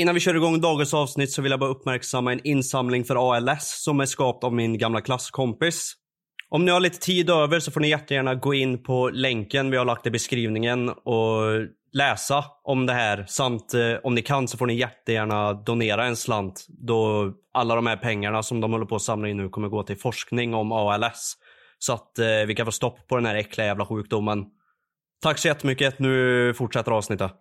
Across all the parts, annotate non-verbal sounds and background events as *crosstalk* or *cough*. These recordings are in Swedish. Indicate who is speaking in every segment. Speaker 1: Innan vi kör igång dagens avsnitt så vill jag bara uppmärksamma en insamling för ALS som är skapt av min gamla klasskompis. Om ni har lite tid över så får ni jättegärna gå in på länken vi har lagt i beskrivningen och läsa om det här. Samt eh, om ni kan så får ni jättegärna donera en slant då alla de här pengarna som de håller på att samla in nu kommer gå till forskning om ALS. Så att eh, vi kan få stopp på den här äckliga jävla sjukdomen. Tack så jättemycket. Nu fortsätter avsnittet.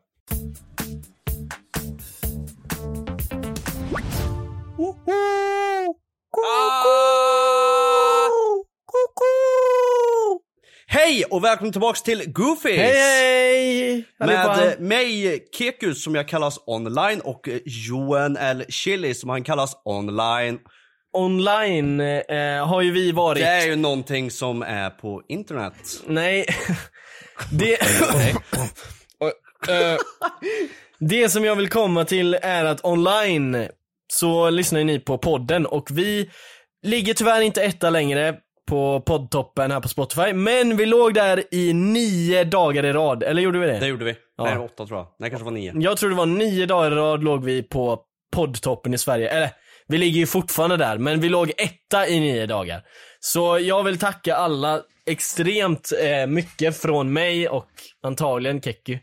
Speaker 1: Ah! Hej och välkommen tillbaks till Goofies!
Speaker 2: Hej! allihopa.
Speaker 1: Med eh, mig Kekus som jag kallas online och eh, Johan L. Chili som han kallas online.
Speaker 2: Online eh, har ju vi varit.
Speaker 1: Det är ju någonting som är på internet.
Speaker 2: Nej. *laughs* Det... Oj, eh, det som jag vill komma till är att online så lyssnar ju ni på podden och vi ligger tyvärr inte etta längre på poddtoppen här på Spotify. Men vi låg där i nio dagar i rad. Eller gjorde vi det?
Speaker 1: Det gjorde vi.
Speaker 2: Ja.
Speaker 1: Nej, åtta tror jag. Nej, kanske var nio.
Speaker 2: Jag tror det var nio dagar i rad låg vi på poddtoppen i Sverige. Eller, vi ligger ju fortfarande där, men vi låg etta i nio dagar. Så jag vill tacka alla extremt eh, mycket från mig och antagligen Kekki.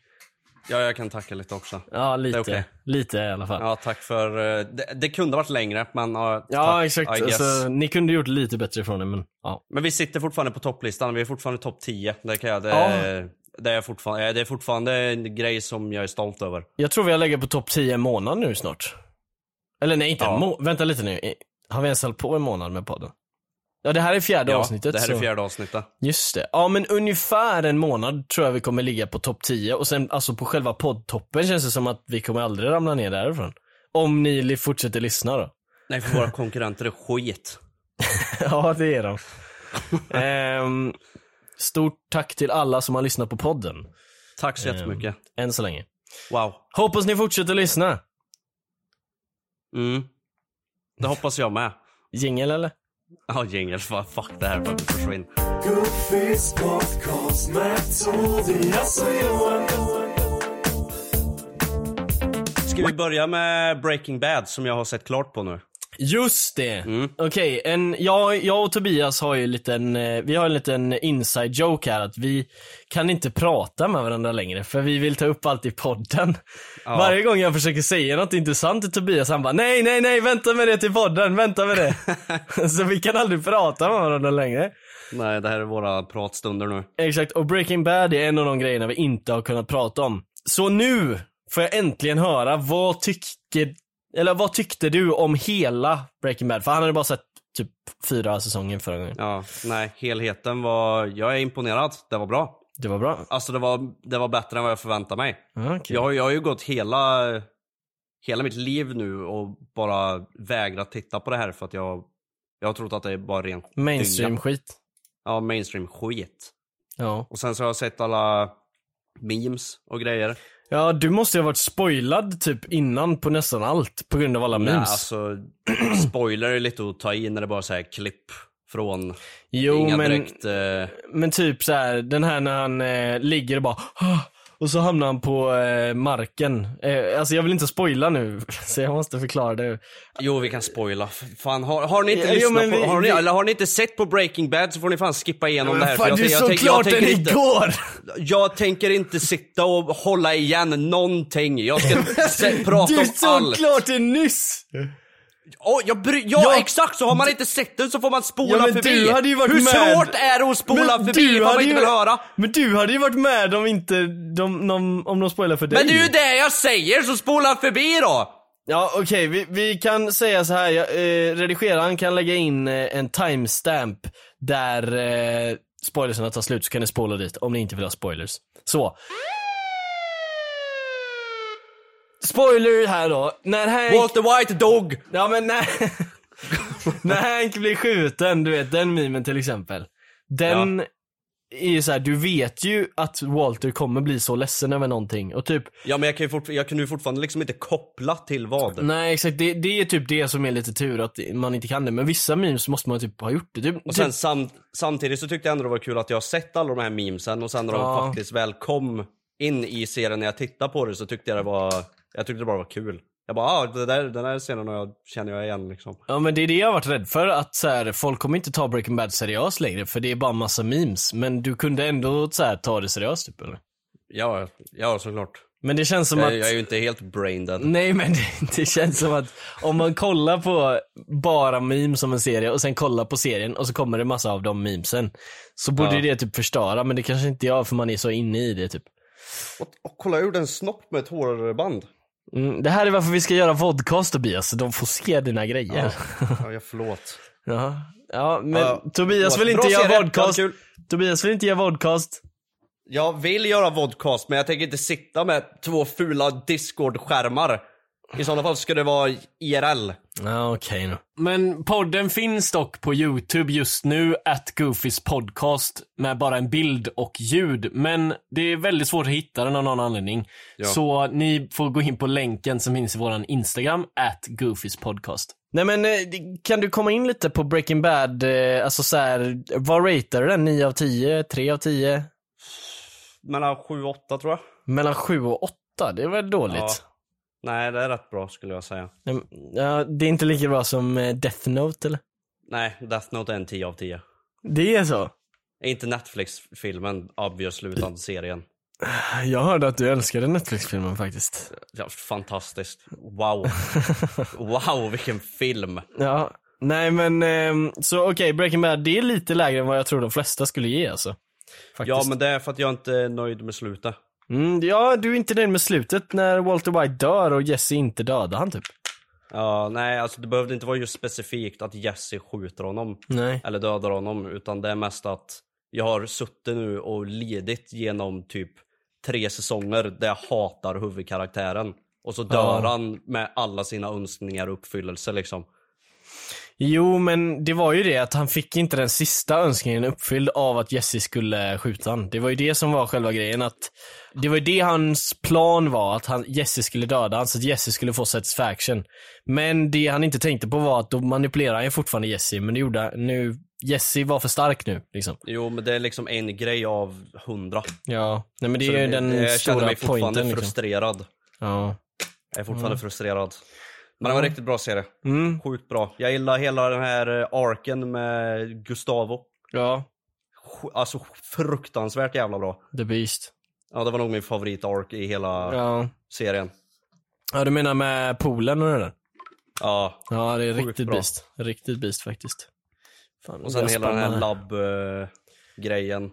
Speaker 1: Ja, jag kan tacka lite också.
Speaker 2: Ja,
Speaker 1: Det
Speaker 2: lite.
Speaker 1: är okej.
Speaker 2: Lite i alla fall. Ja,
Speaker 1: Ja, tack för... eh, Det, det kunde ha varit längre, men ja, tack,
Speaker 2: exakt.
Speaker 1: I guess.
Speaker 2: Alltså, ni kunde gjort lite bättre ifrån er, men ja.
Speaker 1: Men vi sitter fortfarande på topplistan. Vi är fortfarande topp 10. Det, kan jag, det,
Speaker 2: Ja.
Speaker 1: det, är fortfarande, det är fortfarande en grej som jag är stolt över.
Speaker 2: Jag tror vi har legat på topp 10 en månad nu snart. Eller nej, inte
Speaker 1: Ja.
Speaker 2: en må- Vänta lite nu. I- Har vi ens hållit på en månad med podden? Ja, det här är fjärde
Speaker 1: Ja,
Speaker 2: avsnittet.
Speaker 1: det här är
Speaker 2: så-
Speaker 1: fjärde avsnittet.
Speaker 2: Just det. Ja men ungefär en månad tror jag vi kommer ligga på topp 10 och sen alltså på själva poddtoppen känns det som att vi kommer aldrig ramla ner därifrån. Om ni li- fortsätter lyssna då. *laughs*
Speaker 1: Nej, för våra konkurrenter är skit.
Speaker 2: ja det är de. Ehm, stort tack till alla som har lyssnat på podden.
Speaker 1: Tack så jättemycket.
Speaker 2: Än så länge.
Speaker 1: Wow.
Speaker 2: Hoppas ni fortsätter lyssna.
Speaker 1: Mm. Det hoppas jag med.
Speaker 2: Jingel eller?
Speaker 1: *laughs* Ja, jingel. Fan, Fuck det här. bara Försvinn.
Speaker 3: Goofies podcast med Tobias och Johan.
Speaker 1: Ska vi börja med Breaking Bad som jag har sett klart på nu?
Speaker 2: Just det! Okej, en, jag, jag och Tobias har ju en liten, eh, vi har en liten inside joke här att vi kan inte prata med varandra längre för vi vill ta upp allt i podden. Varje gång jag försöker säga något intressant till Tobias han bara nej, nej, nej, vänta med det till podden, vänta med det. Så vi kan aldrig prata med varandra längre.
Speaker 1: Nej, det här är våra pratstunder nu.
Speaker 2: Exakt, och Breaking Bad är en av de grejerna vi inte har kunnat prata om. Så nu får jag äntligen höra vad tycker, eller vad tyckte du om hela Breaking Bad? För han hade bara sett typ fyra säsonger förra gången.
Speaker 1: Ja, nej, helheten var... Jag är imponerad. Det var bra.
Speaker 2: Det var bra.
Speaker 1: Alltså det var, det var bättre än vad jag förväntade mig.
Speaker 2: Ja, okej.
Speaker 1: Jag, har- jag har ju gått hela, hela mitt liv nu och bara vägrat titta på det här för att jag, jag har trott att det är bara rent dynga.
Speaker 2: Mainstream-skit.
Speaker 1: Ja, mainstream skit.
Speaker 2: Ja.
Speaker 1: Och sen så har jag sett alla memes och grejer.
Speaker 2: ja, du måste ju ha varit spoilad typ innan på nästan allt på grund av alla
Speaker 1: Nej,
Speaker 2: memes.
Speaker 1: alltså, spoiler är lite att ta in när det bara så här klipp från
Speaker 2: jo
Speaker 1: inga
Speaker 2: men,
Speaker 1: direkt... Eh,
Speaker 2: men typ så här, den här när han eh, ligger och bara "Ah", och så hamnar han på eh, marken. Eh, alltså jag vill inte spoila nu, *laughs* så jag måste förklara det.
Speaker 1: jo, vi kan spoila. F- Fan, har, har ni inte
Speaker 2: Jo,
Speaker 1: lyssnat
Speaker 2: men
Speaker 1: på...
Speaker 2: vi-
Speaker 1: Har ni,
Speaker 2: vi-
Speaker 1: eller har ni inte sett på Breaking Bad så får ni fan skippa igenom det här.
Speaker 2: Fan, du
Speaker 1: tänk-
Speaker 2: såg
Speaker 1: tänk-
Speaker 2: klart den
Speaker 1: tänker inte-
Speaker 2: igår!
Speaker 1: Jag tänker inte sitta och hålla igen någonting. Jag
Speaker 2: *laughs*
Speaker 1: ska se, prata
Speaker 2: Du
Speaker 1: om
Speaker 2: såg
Speaker 1: allt.
Speaker 2: klart den nyss!
Speaker 1: Åh, jag bry- ja,
Speaker 2: Jag-
Speaker 1: exakt! Så har man inte sett den så får man spola
Speaker 2: Ja, men
Speaker 1: förbi.
Speaker 2: du hade ju varit
Speaker 1: Hur
Speaker 2: med.
Speaker 1: svårt är det att spola förbi vad man inte vill höra?
Speaker 2: men du hade ju varit med om inte, de, om, om de spoilar för dig.
Speaker 1: Men det är ju det jag säger, så spola förbi då!
Speaker 2: Ja okej, vi, vi kan säga så här. Jag, eh, redigeraren kan lägga in eh, en timestamp där eh, spoilersen tar slut så kan ni spola dit om ni inte vill ha spoilers. Så. Spoiler här då. När Hank...
Speaker 1: Walk the white dog!
Speaker 2: Ja men när...
Speaker 1: *laughs*
Speaker 2: när Hank blir skjuten, du vet den memen till exempel. Den är ju så här, du vet ju att Walter kommer bli så ledsen över någonting och typ
Speaker 1: Ja men jag, kan ju fort, jag kunde ju fortfarande liksom inte koppla till vad.
Speaker 2: Nej exakt, det, det är typ det som är lite tur att man inte kan det. Men vissa memes måste man typ ha gjort det. Typ,
Speaker 1: Och sen
Speaker 2: typ,
Speaker 1: sam, samtidigt så tyckte jag ändå det var kul att jag har sett alla de här memesen och sen när
Speaker 2: Ja.
Speaker 1: de faktiskt väl kom in i serien när jag tittade på det så tyckte jag det var, jag tyckte det bara var kul. Jag bara, ah, det där, den här scenen har jag, känner jag igen liksom.
Speaker 2: ja men det är det jag har varit rädd för. Att så här, folk kommer inte ta Breaking Bad seriöst längre för det är bara massa memes. Men du kunde ändå så här, ta det seriöst typ eller?
Speaker 1: Ja, ja såklart.
Speaker 2: Men det känns som
Speaker 1: Eh, Jag,
Speaker 2: att...
Speaker 1: jag är ju inte helt brain dead.
Speaker 2: Nej men det, det känns som att om man kollar på bara memes som en serie och sen kollar på serien och så kommer det massa av de memesen. Så borde
Speaker 1: Ja.
Speaker 2: det typ förstöra men det kanske inte gör för man är så inne i det typ.
Speaker 1: Och, och kolla, jag gjorde en snopp med ett hårband.
Speaker 2: Mm, det här är varför vi ska göra vodcast Tobias, de får se dina grejer.
Speaker 1: Ja, jag förlåt.
Speaker 2: Ja, ja men
Speaker 1: Ja,
Speaker 2: Tobias
Speaker 1: förlåt.
Speaker 2: vill inte
Speaker 1: Bra
Speaker 2: göra
Speaker 1: serie,
Speaker 2: vodcast.
Speaker 1: jättekul.
Speaker 2: Tobias vill inte göra vodcast.
Speaker 1: Jag vill göra vodcast men jag tänker inte sitta med två fula discord-skärmar. I sådana fall ska det vara IRL.
Speaker 2: Ja, okej då. Men podden finns dock på YouTube just nu, at Goofys podcast, med bara en bild och ljud. Men det är väldigt svårt att hitta den av någon anledning. Så ni får gå in på länken som finns i våran Instagram, at Goofys podcast. Nej men, eh, det- kan du komma in lite på Breaking Bad, eh, alltså så här, vad ratear du den? 9 av 10? 3 av 10?
Speaker 1: Mellan 7-8 tror jag.
Speaker 2: Mellan 7 och 8? Det var dåligt.
Speaker 1: Ja. Nej, det är rätt bra skulle jag säga.
Speaker 2: Nej, men, Ja, det är inte lika bra som eh, Death Note eller?
Speaker 1: Nej, Death Note är en 10 av 10.
Speaker 2: Det är så?
Speaker 1: Inte Netflix-filmen, obviously, utan serien.
Speaker 2: Jag hörde att du älskade Netflix-filmen faktiskt.
Speaker 1: Ja, fantastiskt. Wow. Wow, vilken film.
Speaker 2: Ja. Nej men, ehm, så okej, Breaking Bad, det är lite lägre än vad jag tror de flesta skulle ge alltså. Faktiskt.
Speaker 1: Ja, men det är för att jag inte är nöjd med slutet.
Speaker 2: Mm, ja, du är inte nöjd med slutet när Walter White dör och Jesse inte dödar han typ.
Speaker 1: Ja, nej, alltså det behövde inte vara just specifikt att Jesse skjuter honom.
Speaker 2: Nej.
Speaker 1: eller dödar honom utan det är mest att jag har suttit nu och lidit genom typ tre säsonger där jag hatar huvudkaraktären och så dör
Speaker 2: Ja.
Speaker 1: han med alla sina önskningar och uppfyllelse liksom.
Speaker 2: Jo, men det var ju det att han fick inte den sista önskningen uppfylld av att Jesse skulle skjuta han. Det var ju det som var själva grejen att det var ju det hans plan var, att han, Jesse skulle döda han så att Jesse skulle få satisfaction. Men det han inte tänkte på var att då manipulerade han ju fortfarande Jesse, men det gjorde han- nu, Jesse var för stark nu liksom.
Speaker 1: Jo men det är liksom en grej av hundra.
Speaker 2: Ja, nej men det
Speaker 1: Så
Speaker 2: är ju
Speaker 1: det-
Speaker 2: den
Speaker 1: jag känner
Speaker 2: stora
Speaker 1: mig fortfarande
Speaker 2: pointen liksom.
Speaker 1: frustrerad.
Speaker 2: Ja.
Speaker 1: Jag är fortfarande frustrerad. Men det var en riktigt bra serie.
Speaker 2: Mm,
Speaker 1: Sjukt bra. Jag gillar hela den här eh, arken med Gustavo.
Speaker 2: ja,
Speaker 1: Sj- Alltså fruktansvärt jävla bra.
Speaker 2: the beast.
Speaker 1: Ja det var nog min favoritark i hela
Speaker 2: Ja.
Speaker 1: serien.
Speaker 2: ja, du menar med poolen och det där?
Speaker 1: Ja,
Speaker 2: Ja, det är
Speaker 1: Sjukt
Speaker 2: riktigt
Speaker 1: bra.
Speaker 2: beast. Riktigt beast faktiskt. Fan,
Speaker 1: Och sen
Speaker 2: jag
Speaker 1: hela den
Speaker 2: spannar
Speaker 1: här eh, labb-grejen.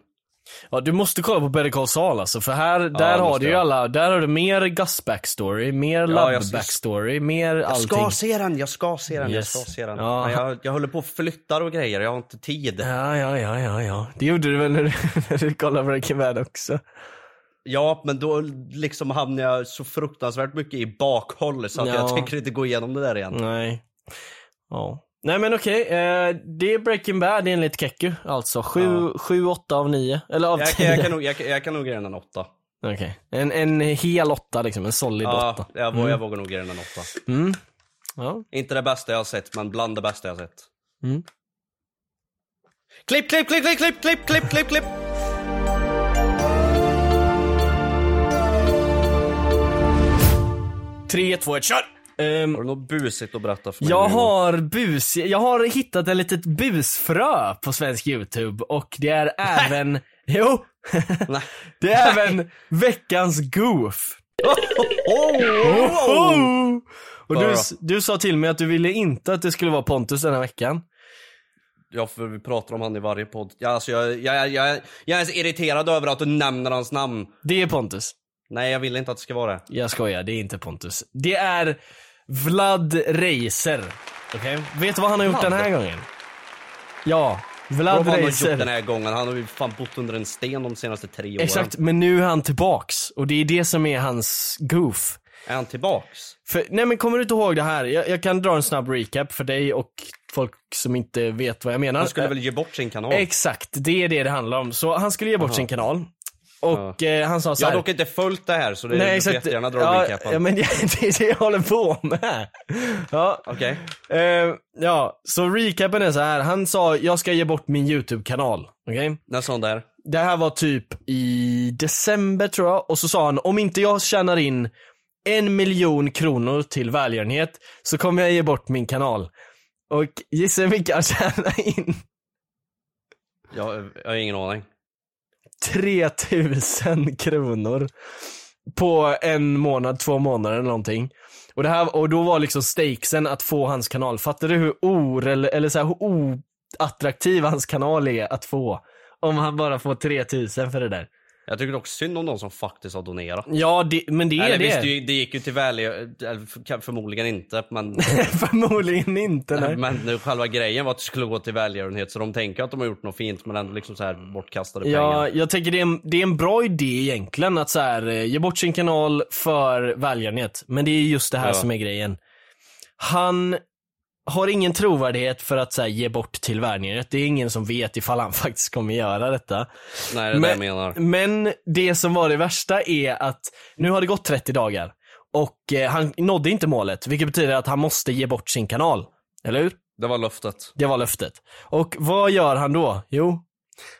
Speaker 2: Ja, du måste kolla på Better Call Saul alltså, för här, där har
Speaker 1: måste
Speaker 2: du ju
Speaker 1: jag.
Speaker 2: alla, där har du mer Gus backstory, mer
Speaker 1: jag
Speaker 2: Love
Speaker 1: ska-
Speaker 2: backstory, mer
Speaker 1: Jag
Speaker 2: allting.
Speaker 1: ska se den, jag ska se den,
Speaker 2: Yes.
Speaker 1: jag ska se den.
Speaker 2: Ja.
Speaker 1: Men jag, jag håller på och flyttar och grejer, jag har inte tid.
Speaker 2: Ja, ja, ja, ja, ja. Det gjorde du väl när du, *laughs* när du kollade Breaking Bad också?
Speaker 1: Ja, men då liksom hamnar jag så fruktansvärt mycket i bakhåll så att
Speaker 2: Ja. Mm.
Speaker 1: jag tänker inte gå igenom det där igen.
Speaker 2: Nej. Ja. Nej men okej, eh, det är Breaking Bad enligt Keku alltså. 7, sju 8 av 9. Eller av
Speaker 1: Jag, kan- jag,
Speaker 2: 10.
Speaker 1: kan nog, jag, kan- jag kan nog ge den en åtta.
Speaker 2: *laughs* Okej. En, en hel 8 liksom, en solid 8.
Speaker 1: Ja, jag, vå- jag vågar nog ge den en åtta.
Speaker 2: Mm. Ja.
Speaker 1: Inte det bästa jag har sett, men bland det bästa jag har sett.
Speaker 2: Mm.
Speaker 1: Klipp, klipp, klipp, klipp, klipp, klipp, klipp, klipp, klipp!
Speaker 2: Tre, två, ett, kör! Ehm,
Speaker 1: Har du något busigt att berätta för mig?
Speaker 2: Jag
Speaker 1: nu, Johan?
Speaker 2: har bus, jag har hittat ett litet busfrö på svensk youtube och det
Speaker 1: *laughs*
Speaker 2: är även, jo, *laughs*
Speaker 1: Nej.
Speaker 2: det är även veckans
Speaker 1: *laughs*
Speaker 2: goof. Oho! Och du, s- du sa till mig att du ville inte att det skulle vara Pontus den här veckan.
Speaker 1: Ja, för vi pratar om han i varje podd. Ja, alltså, jag, jag, jag, jag är så irriterad över att du nämner hans namn.
Speaker 2: Det är Pontus.
Speaker 1: Nej, jag vill inte att det ska vara det.
Speaker 2: Jag skojar, det är inte Pontus. Det är Vlad Reiser. Okej? Vet du vad han har gjort
Speaker 1: Vlad?
Speaker 2: den här gången? Ja,
Speaker 1: Vad
Speaker 2: Vlad
Speaker 1: har han
Speaker 2: Reiser.
Speaker 1: gjort den här gången? Han har ju fan bott under en sten de senaste tre åren.
Speaker 2: Exakt, men nu är han tillbaks och det är det som är hans goof.
Speaker 1: Är han tillbaks?
Speaker 2: För, nej men kommer du inte ihåg det här? Jag, jag kan dra en snabb recap för dig och folk som inte vet vad jag menar.
Speaker 1: Han skulle väl ge bort sin kanal?
Speaker 2: Exakt, det är det det handlar om. Så han skulle ge bort sin kanal. Och eh, han sa så
Speaker 1: jag
Speaker 2: här.
Speaker 1: har dock inte följt det här så det
Speaker 2: Nej
Speaker 1: Nej,
Speaker 2: exakt.
Speaker 1: jättegärna dra
Speaker 2: ja,
Speaker 1: recapen.
Speaker 2: ja, men det *laughs* det är det jag håller på med. Ja.
Speaker 1: Okej.
Speaker 2: Eh, ja, så recapen är så här. Han sa, jag ska ge bort min YouTube-kanal. Okej?
Speaker 1: När sån där.
Speaker 2: Det här var typ i december tror jag. Och så sa han, om inte jag tjänar in en miljon kronor till välgörenhet så kommer jag ge bort min kanal. Och gissa hur mycket han *laughs* tjänade in?
Speaker 1: Jag, jag har ingen aning.
Speaker 2: 3000 kronor. På en månad, två månader eller någonting. Och, det här, och då var liksom stakesen att få hans kanal. Fattar du hur or, eller, eller så här, hur oattraktiv hans kanal är att få? Om han bara får 3000 för det där.
Speaker 1: Jag tycker dock synd om de som faktiskt har donerat.
Speaker 2: Ja, det, men det är
Speaker 1: Eller
Speaker 2: det.
Speaker 1: visst, det, det gick ju till väl, eller för- förmodligen inte men,
Speaker 2: Förmodligen inte *laughs* nej.
Speaker 1: men nu själva grejen var att det skulle gå till välgörenhet så de tänker att de har gjort något fint men ändå liksom så här bortkastade
Speaker 2: Ja,
Speaker 1: pengar.
Speaker 2: jag tänker det är, en, det är en bra idé egentligen att så här, eh, ge bort sin kanal för välgörenhet. Men det är just det här
Speaker 1: Ja.
Speaker 2: som är grejen. Han har ingen trovärdighet för att så här, ge bort till välgörenhet. Det är ingen som vet ifall han *laughs* faktiskt kommer göra detta.
Speaker 1: Nej, det är det jag menar.
Speaker 2: men det som var det värsta är att nu har det gått 30 dagar och eh, han nådde inte målet, vilket betyder att han måste ge bort sin kanal. Eller hur?
Speaker 1: Det var löftet.
Speaker 2: Det var löftet. Och vad gör han då? Jo,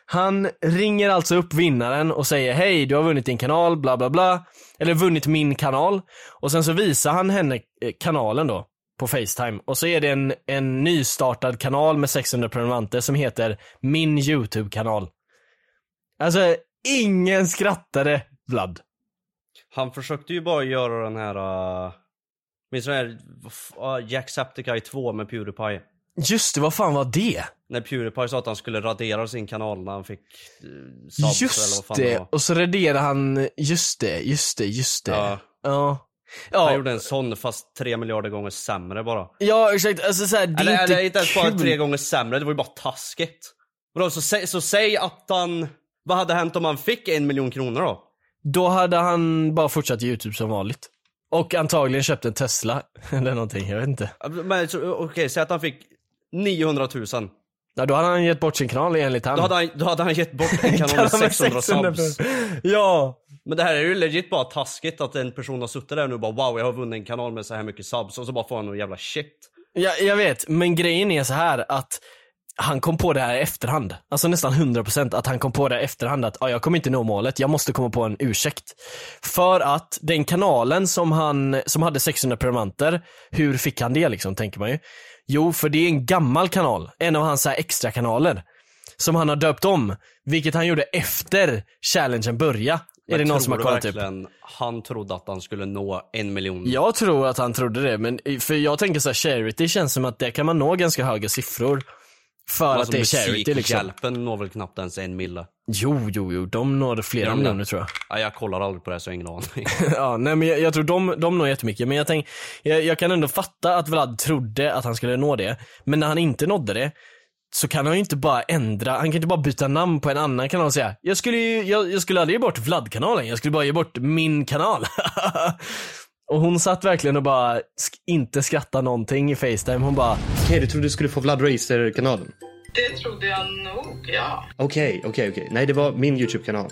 Speaker 2: han ringer alltså upp vinnaren och säger hej, du har vunnit din kanal, bla bla bla. Eller vunnit min kanal. Och sen så visar han henne eh, kanalen då på Facetime. Och så är det en, en nystartad kanal med 600 prenumeranter som heter Min YouTube-kanal. Alltså, ingen skrattade Vlad.
Speaker 1: Han försökte ju bara göra den här... Uh, minns du den här uh, Jacksepticeye 2 med Pewdiepie?
Speaker 2: Just det, vad fan var det?
Speaker 1: När Pewdiepie sa att han skulle radera sin kanal när han fick uh, subs eller vad
Speaker 2: just
Speaker 1: fan
Speaker 2: det,
Speaker 1: det var.
Speaker 2: och så raderar han, just det, just det, just det.
Speaker 1: Ja.
Speaker 2: ja.
Speaker 1: Han
Speaker 2: Ja,
Speaker 1: gjorde en sån fast tre miljarder gånger sämre bara.
Speaker 2: Ja exakt, alltså såhär, det är
Speaker 1: eller,
Speaker 2: inte
Speaker 1: eller inte ens bara
Speaker 2: kul.
Speaker 1: tre gånger sämre, det var ju bara taskigt. Vadå, så, sä, så säg att han... Vad hade hänt om han fick en miljon kronor då?
Speaker 2: Då hade han bara fortsatt youtube som vanligt. Och antagligen köpt en Tesla, *laughs* eller någonting, jag vet inte.
Speaker 1: Men så- okej, säg att han fick 900 000.
Speaker 2: Ja, då hade han gett bort sin kanal enligt han.
Speaker 1: Då hade han, då hade han gett
Speaker 2: *laughs*
Speaker 1: bort en kanal med 600 subs.
Speaker 2: Ja!
Speaker 1: Men det här är ju legit bara taskigt att en person har suttit där och nu bara wow jag har vunnit en kanal med så här mycket subs och så bara får han någon jävla shit.
Speaker 2: Jag, jag vet, men grejen är så här att han kom på det här i efterhand. Alltså nästan 100% att han kom på det här i efterhand att ah, jag kommer inte nå målet, jag måste komma på en ursäkt. För att den kanalen som han, som hade 600 prenumeranter, hur fick han det liksom tänker man ju. Jo, för det är en gammal kanal, en av hans så här extra kanaler Som han har döpt om, vilket han gjorde efter challengen började. Är det
Speaker 1: Men
Speaker 2: någon som har
Speaker 1: tror du
Speaker 2: kollat typ? upp?
Speaker 1: verkligen Han trodde att han skulle nå en miljon.
Speaker 2: Jag tror att han trodde det, men för jag tänker så här, charity känns som att där kan man nå ganska höga siffror. För att det är charity liksom.
Speaker 1: Hjälpen Alltså når väl knappt ens en mille.
Speaker 2: Jo, jo, jo, de når flera
Speaker 1: de det?
Speaker 2: miljoner tror jag.
Speaker 1: Ja, jag kollar aldrig på det här, så jag har ingen aning.
Speaker 2: ja, nej men jag, jag tror de, de når jättemycket, men jag, tänk, jag, jag kan ändå fatta att Vlad trodde att han skulle nå det. Men när han inte nådde det, så kan han ju inte bara ändra, han kan inte bara byta namn på en annan kanal och säga Jag skulle ju, jag, jag skulle aldrig ge bort Vlad-kanalen, jag skulle bara ge bort min kanal. *laughs* och hon satt verkligen och bara sk- inte skratta någonting i Facetime, hon bara
Speaker 4: Okej, du trodde du skulle få Vlad Racer-kanalen?
Speaker 5: Det trodde jag nog, ja.
Speaker 4: Okej, okej, okej. Nej, det var min YouTube-kanal.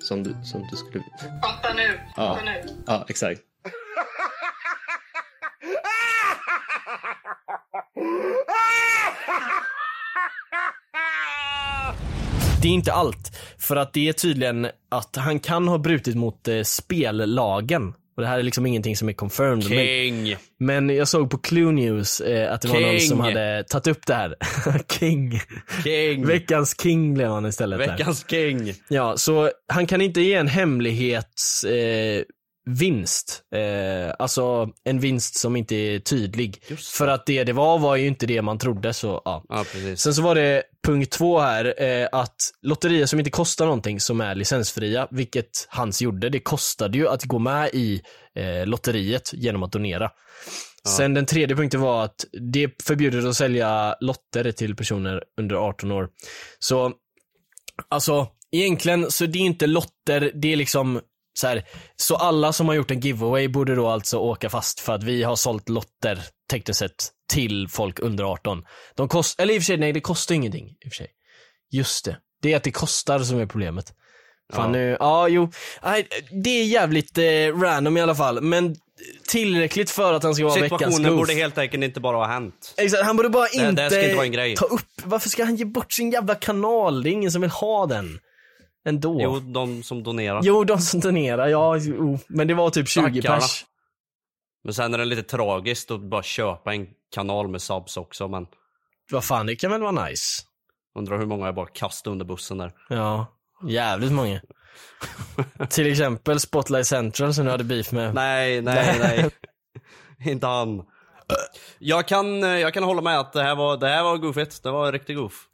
Speaker 4: Som du, som du skulle...
Speaker 5: Fatta nu.
Speaker 4: Ja,
Speaker 5: Fatta nu.
Speaker 4: ja exakt.
Speaker 2: Det är inte allt. För att det är tydligen att han kan ha brutit mot eh, spellagen. Och det här är liksom ingenting som är confirmed. Men,
Speaker 1: King!
Speaker 2: men jag såg på Clue News eh, att det var någon
Speaker 1: King.
Speaker 2: som hade tagit upp det här. *laughs* king.
Speaker 1: King!
Speaker 2: Veckans king blev han istället. där.
Speaker 1: Veckans king!
Speaker 2: Ja, så han kan inte ge en hemlighets... Eh, vinst. Eh, alltså en vinst som inte är tydlig. För att det det var var ju inte det man trodde så ja.
Speaker 1: Ja, precis.
Speaker 2: Sen så var det punkt två här, eh, att lotterier som inte kostar någonting som är licensfria, vilket Hans gjorde, det kostade ju att gå med i eh, lotteriet genom att donera. Sen den tredje punkten var att det är förbjudet att sälja lotter till personer under 18 år. Så, alltså, egentligen så det är inte lotter, det är liksom Så, här, så alla som har gjort en giveaway borde då alltså åka fast för att vi har sålt lotter, tekniskt sett, till folk under 18. De kost, eller i och för sig, nej det kostar ingenting. I och för sig. Just det. Det är att det kostar som är problemet. Fan nu, ja jo. Nej, det är jävligt eh, random i alla fall, men tillräckligt för att han ska vara veckans
Speaker 1: Situationen
Speaker 2: goof.
Speaker 1: borde helt enkelt inte bara ha hänt.
Speaker 2: Exakt, han borde bara
Speaker 1: här
Speaker 2: inte,
Speaker 1: ska inte vara en grej.
Speaker 2: ta upp, varför ska han ge bort sin jävla kanal? Det är ingen som vill ha den. Ändå.
Speaker 1: Jo,
Speaker 2: Jo,
Speaker 1: de som donerar.
Speaker 2: de som donerar, ja, jo. men det var typ 20
Speaker 1: Stackarna.
Speaker 2: pers.
Speaker 1: Men sen är det lite tragiskt att bara köpa en kanal med subs också. Men
Speaker 2: Vad fan, det kan väl vara nice.
Speaker 1: undrar hur många jag bara kastade under bussen där.
Speaker 2: Ja, jävligt många.
Speaker 1: *laughs*
Speaker 2: Till exempel Spotlight Central som du hade beef med.
Speaker 1: Nej, nej, nej. *laughs* inte han. Jag kan, eh, jag kan hålla med att det här var, det här var goofigt. Det var en riktig goof.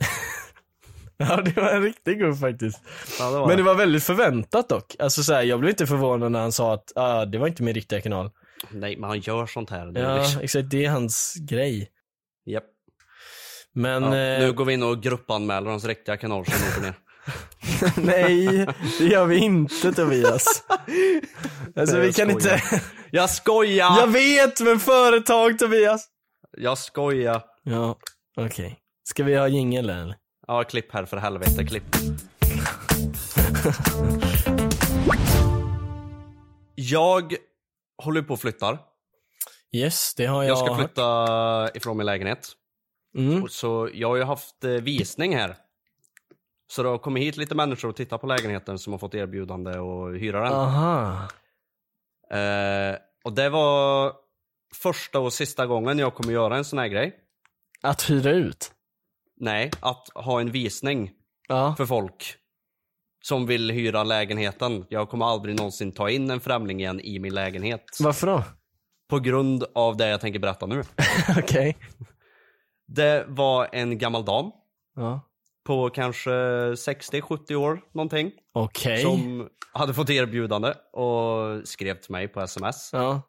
Speaker 2: Ja, det var en riktig god faktiskt.
Speaker 1: Ja, det var
Speaker 2: Men
Speaker 1: det.
Speaker 2: det var väldigt förväntat dock. Alltså så här, jag blev inte förvånad när han sa att ah, det var inte min riktiga kanal.
Speaker 1: Nej, men han gör sånt här. nu,
Speaker 2: Ja,
Speaker 1: liksom.
Speaker 2: exakt. Det är hans grej.
Speaker 1: Japp.
Speaker 2: Men...
Speaker 1: Ja,
Speaker 2: eh,
Speaker 1: nu går vi in och gruppanmäler hans riktiga kanal som åker ner.
Speaker 2: *laughs* Nej, det gör vi inte *laughs* Tobias. Alltså
Speaker 1: Nej,
Speaker 2: vi
Speaker 1: jag
Speaker 2: kan
Speaker 1: skojar.
Speaker 2: inte.
Speaker 1: *laughs* Jag skojar!
Speaker 2: *laughs* Jag
Speaker 1: Jag,
Speaker 2: vet, men företag Tobias.
Speaker 1: skojar.
Speaker 2: Ja, okej. Ska vi ha jingel eller?
Speaker 1: Ja, klipp här för helvete. Klipp. Jag håller på och flyttar.
Speaker 2: Yes, det har jag.
Speaker 1: Jag ska flytta ifrån min lägenhet.
Speaker 2: Mm.
Speaker 1: Och Så jag har ju haft eh, visning här. Så det har kommit hit lite människor och tittat på lägenheten som har fått erbjudande och hyra den.
Speaker 2: Aha.
Speaker 1: Eh, och det var första och sista gången jag kommer göra en sån här grej.
Speaker 2: Att hyra ut?
Speaker 1: Nej, att ha en visning
Speaker 2: Ja.
Speaker 1: för folk som vill hyra lägenheten. Jag kommer aldrig någonsin ta in en främling igen i min lägenhet.
Speaker 2: Varför då? *laughs*
Speaker 1: På grund av det jag tänker berätta nu.
Speaker 2: okej.
Speaker 1: Det var en gammal dam
Speaker 2: Ja.
Speaker 1: på kanske 60-70 år någonting.
Speaker 2: Okej.
Speaker 1: som hade fått erbjudande och skrev till mig på sms
Speaker 2: Ja.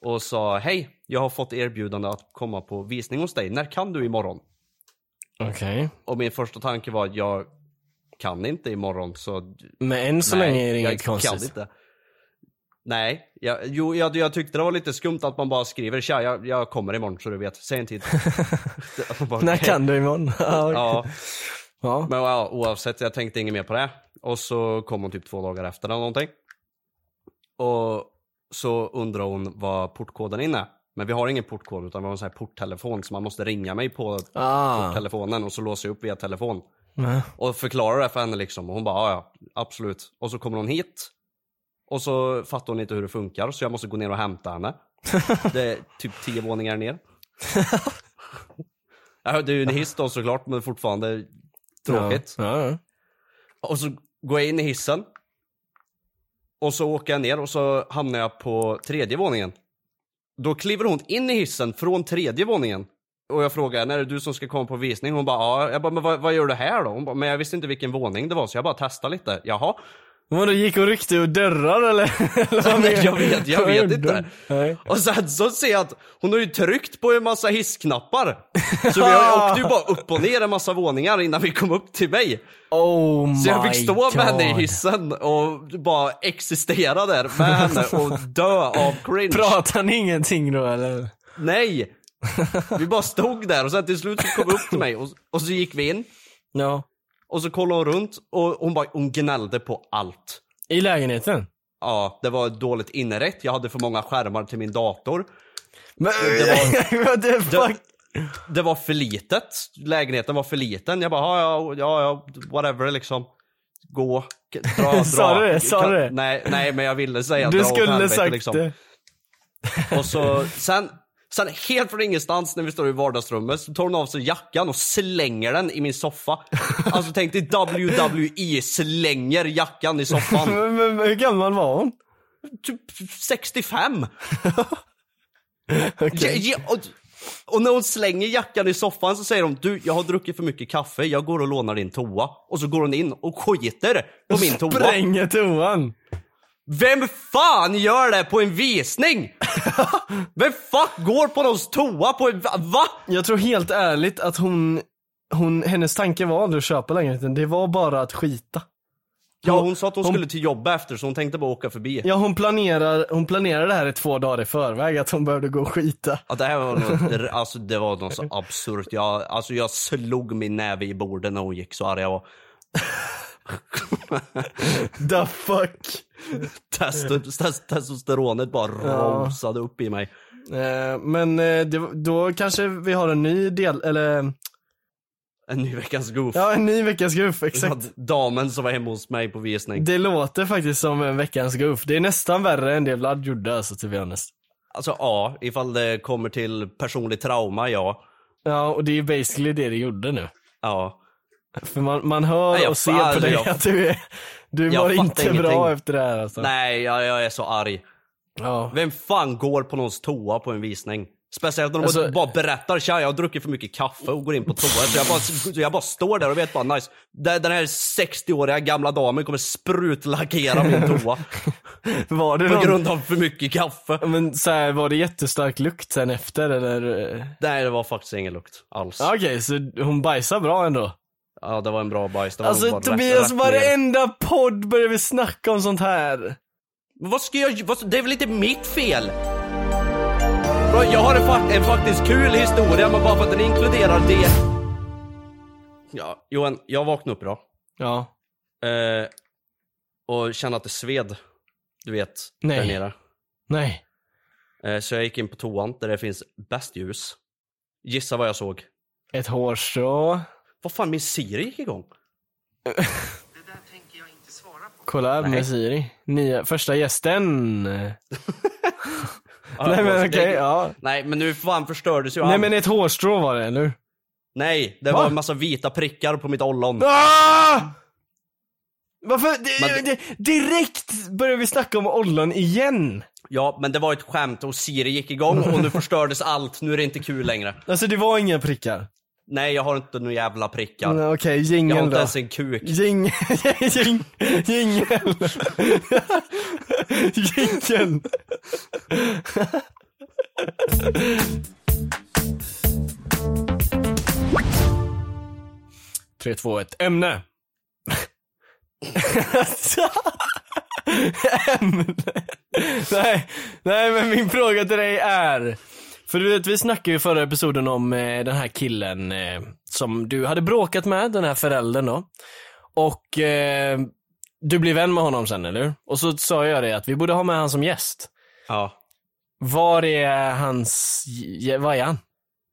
Speaker 1: och sa hej, jag har fått erbjudande att komma på visning hos dig. När kan du imorgon?
Speaker 2: Okej.
Speaker 1: Och min första tanke var jag kan inte imorgon så
Speaker 2: Men än så
Speaker 1: nej,
Speaker 2: länge är det
Speaker 1: jag
Speaker 2: inget
Speaker 1: kan
Speaker 2: konstigt.
Speaker 1: inte. Nej, jag, jo, jag, jag tyckte det var lite skumt att man bara skriver tja, jag, jag kommer imorgon så du vet, säg en
Speaker 2: *laughs*
Speaker 1: tid. Att man bara,
Speaker 2: *laughs* När
Speaker 1: "Okej."
Speaker 2: kan du imorgon? *laughs* ja.
Speaker 1: Ja,
Speaker 2: ja.
Speaker 1: men ja, oavsett, jag tänkte inget mer på det. Och så kom hon typ två dagar efter eller någonting. Och så undrar hon vad portkoden inne. Men vi har ingen portkod utan vi har en sån här porttelefon så man måste ringa mig på
Speaker 2: Ah.
Speaker 1: telefonen och så låser jag upp via telefon.
Speaker 2: Ja.
Speaker 1: Och förklarar det för henne liksom och hon bara "Ja, ja, absolut. Och så kommer hon hit. Och så fattar hon inte hur det funkar så jag måste gå ner och hämta henne. Det är typ tio våningar ner. *laughs* Ja, Det är ju en hiss då såklart men fortfarande tråkigt.
Speaker 2: Ja. ja.
Speaker 1: Och så går jag in i hissen. Och så åker jag ner och så hamnar jag på tredje våningen. Då kliver hon in i hissen från tredje våningen. Och jag frågar henne, är det du som ska komma på visning? Hon bara, ja. Jag bara, men vad, vad gör du här då? Hon bara, men jag visste inte vilken våning det var så jag bara testade lite. Jaha. *laughs*
Speaker 2: Vadå, gick och ryckte ur dörrar eller? *laughs* eller vad
Speaker 1: Nej,
Speaker 2: menar-
Speaker 1: jag vet, jag
Speaker 2: vad
Speaker 1: vet
Speaker 2: gjorde
Speaker 1: inte.
Speaker 2: hon? Nej.
Speaker 1: Och sen så ser jag att hon har ju tryckt på en massa hissknappar. Så vi har- åkte ju bara upp och ner en massa våningar innan vi kom upp till mig.
Speaker 2: Oh my
Speaker 1: Så jag fick stå med henne i
Speaker 2: God.
Speaker 1: hissen och bara existera där med henne
Speaker 2: *laughs*
Speaker 1: och dö av cringe.
Speaker 2: Pratar ni ingenting då eller?
Speaker 1: Nej! Vi bara stod där och sen till slut så kom hon upp till mig och, och så gick vi in
Speaker 2: Ja.
Speaker 1: och så kollade hon runt och hon bara, hon gnällde på allt.
Speaker 2: I lägenheten?
Speaker 1: Ja, det var dåligt inrett. Jag hade för många skärmar till min dator.
Speaker 2: Men, *laughs* what the fuck?
Speaker 1: Det var för litet. Lägenheten var för liten. Jag bara, ja, ja, ja, ja whatever liksom. Gå, k- dra, dra.
Speaker 2: *laughs* Sa du det? Sa du det?
Speaker 1: Nej, nej, men jag ville säga dra
Speaker 2: Du
Speaker 1: åt
Speaker 2: skulle
Speaker 1: helvete,
Speaker 2: sagt
Speaker 1: liksom.
Speaker 2: det.
Speaker 1: Och så, sen, sen helt från ingenstans när vi står i vardagsrummet så tar hon av sig jackan och slänger den i min soffa. Alltså tänk dig WWE slänger jackan i soffan.
Speaker 2: Men, men, men hur gammal var hon?
Speaker 1: Typ 65!
Speaker 2: Okej.
Speaker 1: Ja, ja, och, och när hon slänger jackan i soffan så säger hon du jag har druckit för mycket kaffe, jag går och lånar din toa. Och så går hon in och skiter på min toa.
Speaker 2: Spränger toan.
Speaker 1: Vem fan gör det på en visning? Vem fuck går på någons toa på en... Va?
Speaker 2: Jag tror helt ärligt att hon, hon hennes tanke var aldrig att köpa lägenheten. Det var bara att skita.
Speaker 1: Ja, hon sa att hon, skulle till jobbet efter så hon tänkte bara åka förbi. Ja.
Speaker 2: Ja, hon planerar, hon planerar det här i två dagar i förväg, att hon behövde gå och skita.
Speaker 1: det här var *laughs* något, det- alltså det var något så absurt. Jag, alltså jag slog min näve i bordet när hon gick så arg jag var.
Speaker 2: The fuck.
Speaker 1: Testo- tes- Testosteronet bara rasade upp i mig.
Speaker 2: Eh, men eh, det, då kanske vi har en ny del, eller
Speaker 1: En ny veckans goof.
Speaker 2: ja, en ny veckans goof,
Speaker 1: Så
Speaker 2: exakt.
Speaker 1: att Damen som var hemma hos mig på visning.
Speaker 2: Det låter faktiskt som en veckans goof. Det är nästan värre än det Vlad gjorde alltså, to be honest.
Speaker 1: Alltså ja, ifall det kommer till personlig trauma, ja.
Speaker 2: Ja, och det är basically det du gjorde nu.
Speaker 1: Ja.
Speaker 2: För man, man hör
Speaker 1: Nej, jag
Speaker 2: och ser
Speaker 1: fan,
Speaker 2: på dig
Speaker 1: jag-
Speaker 2: att du är, du
Speaker 1: jag
Speaker 2: mår
Speaker 1: fattar
Speaker 2: inte bra
Speaker 1: ingenting.
Speaker 2: efter det här alltså.
Speaker 1: Nej, jag, jag är så arg.
Speaker 2: Ja.
Speaker 1: Vem fan går på någons toa på en visning? Speciellt när de
Speaker 2: Alltså-
Speaker 1: bara berättar tja jag har druckit för mycket kaffe och går in på toa. Så jag, bara, så jag bara står där och vet bara nice. Den den här 60-åriga gamla damen kommer sprutlackera
Speaker 2: *laughs*
Speaker 1: min toa.
Speaker 2: Var det
Speaker 1: på
Speaker 2: någon...
Speaker 1: grund av för mycket kaffe.
Speaker 2: Men så här, var det jättestark lukt sen efter eller? eh?
Speaker 1: Nej det var faktiskt ingen lukt alls.
Speaker 2: Ja, Okej, så hon bajsar bra ändå?
Speaker 1: Ja det var en bra bajs. Det var
Speaker 2: Alltså
Speaker 1: bara rätt-
Speaker 2: Tobias,
Speaker 1: rätt ner.
Speaker 2: varenda podd börjar vi snacka om sånt här.
Speaker 1: Men Vad ska jag vad, Det är väl inte mitt fel? Bra, Jag har en, fak- en faktiskt kul historia, men bara för att den inkluderar det. Ja, Johan, jag vaknade upp idag.
Speaker 2: Ja.
Speaker 1: Eh, och kände att det sved. Du vet,
Speaker 2: Nej.
Speaker 1: där nere.
Speaker 2: Nej.
Speaker 1: Eh, så jag gick in på toan där det finns bäst ljus. Gissa vad jag såg.
Speaker 2: Ett hårstrå.
Speaker 1: Vad fan, min Siri gick igång.
Speaker 2: *laughs* Collab med Siri. Nya, första gästen. Nej men okej, ja.
Speaker 1: Ah, Nej, men nu fan förstördes ju
Speaker 2: Nej
Speaker 1: allt.
Speaker 2: men ett hårstrå var det, eller hur?
Speaker 1: Nej, det
Speaker 2: Va?
Speaker 1: var en massa vita prickar på mitt ollon.
Speaker 2: Ah! Varför?
Speaker 1: Men-
Speaker 2: det, det, direkt börjar vi snacka om ollon igen.
Speaker 1: Ja, men det var ett skämt och Siri gick igång och
Speaker 2: *laughs*
Speaker 1: nu förstördes allt. Nu är det inte kul längre.
Speaker 2: Alltså det var inga prickar.
Speaker 1: Nej, jag har inte några jävla prickar.
Speaker 2: Mm, Okej,
Speaker 1: jag har
Speaker 2: jingeln
Speaker 1: inte
Speaker 2: då.
Speaker 1: ens en kuk.
Speaker 2: Jing... Jing... Jingel. Jingel. Tre, två, ett. Ämne. Ämne. Nej, nej, men min fråga till dig är. För du vet, vi snackade ju i förra episoden om eh, den här killen eh, som du hade bråkat med, den här föräldern då. Och eh, du blev vän med honom sen, eller hur? Och så sa jag det att vi borde ha med han som gäst.
Speaker 1: Ja.
Speaker 2: Var är hans, ja, vad är han?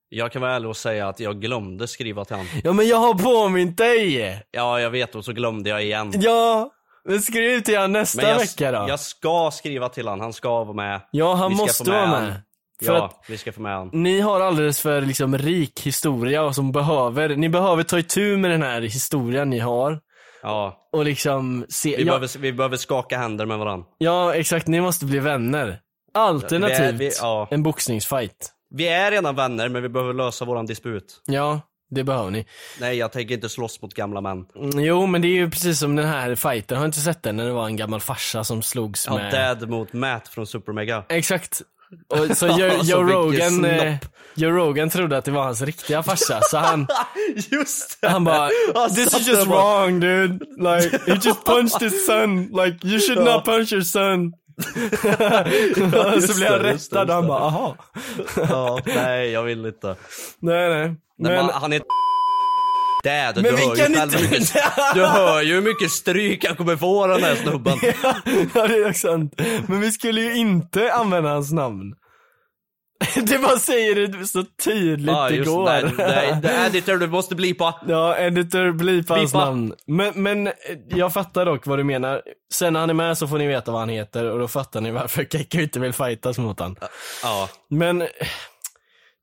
Speaker 1: Jag kan vara ärlig och säga att jag glömde skriva till honom.
Speaker 2: Ja men jag har påmint dig!
Speaker 1: Ja, jag vet och så glömde jag igen.
Speaker 2: Ja, men skriv till han nästa
Speaker 1: Men jag,
Speaker 2: vecka då.
Speaker 1: jag ska skriva till honom. Han ska vara med.
Speaker 2: ja, han
Speaker 1: vi ska
Speaker 2: måste
Speaker 1: få med
Speaker 2: vara
Speaker 1: han.
Speaker 2: med. För
Speaker 1: ja,
Speaker 2: att
Speaker 1: vi ska få med honom.
Speaker 2: ni har alldeles för liksom rik historia och som behöver, ni behöver ta itu med den här historien ni har.
Speaker 1: Ja.
Speaker 2: Och liksom se,
Speaker 1: Vi,
Speaker 2: ja,
Speaker 1: behöver, vi behöver skaka händer med varandra.
Speaker 2: ja exakt, ni måste bli vänner. Alternativt
Speaker 1: Vi är- vi- ja.
Speaker 2: en boxningsfight.
Speaker 1: Vi är redan vänner, men vi behöver lösa våran disput.
Speaker 2: Ja, det behöver ni.
Speaker 1: Nej, jag tänker inte slåss mot gamla män.
Speaker 2: Mm, Jo men det är ju precis som den här fighten, har jag inte sett den? När det var en gammal farsa som slogs
Speaker 1: Ja,
Speaker 2: med...
Speaker 1: Dad mot Matt från
Speaker 2: *laughs*
Speaker 1: Supermega.
Speaker 2: Exakt.
Speaker 1: *laughs*
Speaker 2: Och så Joe,
Speaker 1: Så
Speaker 2: Joe,
Speaker 1: mycket
Speaker 2: Rogan, eh,
Speaker 1: Alltså, snopp.
Speaker 2: Joe Rogan trodde att det var hans riktiga farsa, så han,
Speaker 1: Just det!
Speaker 2: han bara
Speaker 1: *laughs* Han
Speaker 2: This
Speaker 1: satt
Speaker 2: is
Speaker 1: där
Speaker 2: just
Speaker 1: och bara-
Speaker 2: wrong dude, like he just punched his son, like you should not punch your son.
Speaker 1: *laughs*
Speaker 2: *laughs* så
Speaker 1: just
Speaker 2: blev han
Speaker 1: det, just det,
Speaker 2: rättad och han
Speaker 1: just
Speaker 2: bara aha.
Speaker 1: Ja, nej, jag vill inte.
Speaker 2: Nej nej.
Speaker 1: Nej, men,
Speaker 2: Men,
Speaker 1: han är Dad,
Speaker 2: Men
Speaker 1: du,
Speaker 2: vi
Speaker 1: hör
Speaker 2: kan
Speaker 1: ju själv
Speaker 2: inte-
Speaker 1: hur mycket,
Speaker 2: *laughs*
Speaker 1: du hör ju hur mycket stryk han kommer få den här snubben.
Speaker 2: ja *laughs* det är också sant. Men vi skulle ju inte använda hans namn. *laughs* det bara säger det så tydligt
Speaker 1: Ja,
Speaker 2: det
Speaker 1: just
Speaker 2: går.
Speaker 1: Nej, nej, nej, editor, du måste blipa.
Speaker 2: *laughs* Ja, editor blir på hans
Speaker 1: Pipa.
Speaker 2: namn. Men, men eh, jag fattar dock vad du menar. Sen när han är med så får ni veta vad han heter och då fattar ni varför *laughs* Kekko inte vill fightas mot han.
Speaker 1: Ja,
Speaker 2: Men eh,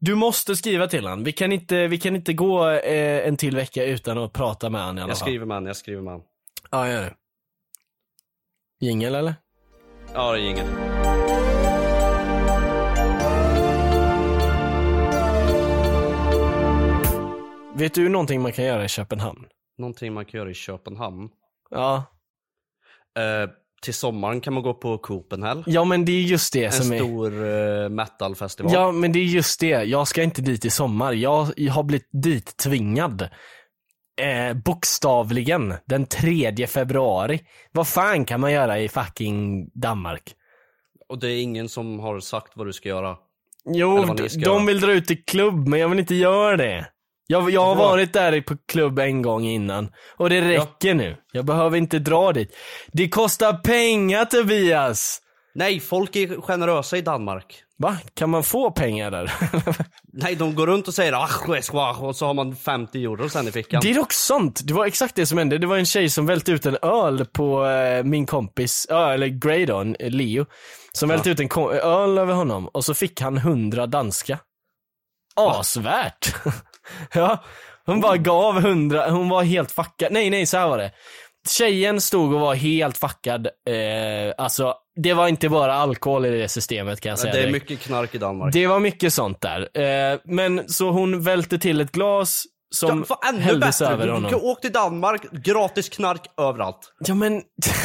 Speaker 2: du måste skriva till han. Vi kan inte, vi kan inte gå eh, en till vecka utan att prata med han i alla
Speaker 1: jag
Speaker 2: fall.
Speaker 1: skriver man, jag skriver man.
Speaker 2: Ja, gör det. Jingel eller?
Speaker 1: Ja, det är inget.
Speaker 2: Vet du någonting man kan göra i Köpenhamn?
Speaker 1: Någonting man kan göra i Köpenhamn.
Speaker 2: Ja.
Speaker 1: Eh, till sommaren kan man gå på Copenhagen.
Speaker 2: Ja men det är just det
Speaker 1: En
Speaker 2: som är...
Speaker 1: stor eh, metalfestival.
Speaker 2: Ja men det är just det, jag ska inte dit i sommar. Jag, jag har blivit dit tvingad. eh, bokstavligen den 3 februari. Vad fan kan man göra i fucking Danmark?
Speaker 1: Och det är ingen som har sagt vad du ska göra. Eller
Speaker 2: Jo,
Speaker 1: vad ni ska
Speaker 2: de
Speaker 1: göra.
Speaker 2: vill dra ut till klubb, men jag vill inte göra det. Jag, jag har
Speaker 1: Bra.
Speaker 2: varit där på klubb en gång innan och det räcker nu. Jag behöver inte dra dit. Det kostar pengar Tobias!
Speaker 1: Nej, folk är generösa i Danmark.
Speaker 2: Va? Kan man få pengar där? *laughs*
Speaker 1: Nej, de går runt och säger "Ach, wesh, wach", och så har man 50 euro sen i fickan.
Speaker 2: Det är dock sant. Det var exakt det som hände. Det var en tjej som välte ut en öl på eh, min kompis, ja, eller Grey då, en- eh, Leo. Som välte ut en ko- öl över honom och så fick han 100 danska. Asvärt! *laughs* ja. Hon bara gav 100, hon var helt fuckad. Nej, nej, så här var det. Tjejen stod och var helt fuckad. Eh, alltså, det var inte bara alkohol i det systemet kan jag säga
Speaker 1: det är
Speaker 2: direkt.
Speaker 1: mycket knark i Danmark.
Speaker 2: Det var mycket sånt där. Eh, men så hon välte till ett glas som
Speaker 1: ja, fan, ännu
Speaker 2: hälldes
Speaker 1: bättre!
Speaker 2: över
Speaker 1: Du-
Speaker 2: honom.
Speaker 1: Du kan åka till Danmark, gratis knark överallt.
Speaker 2: Ja men... *laughs*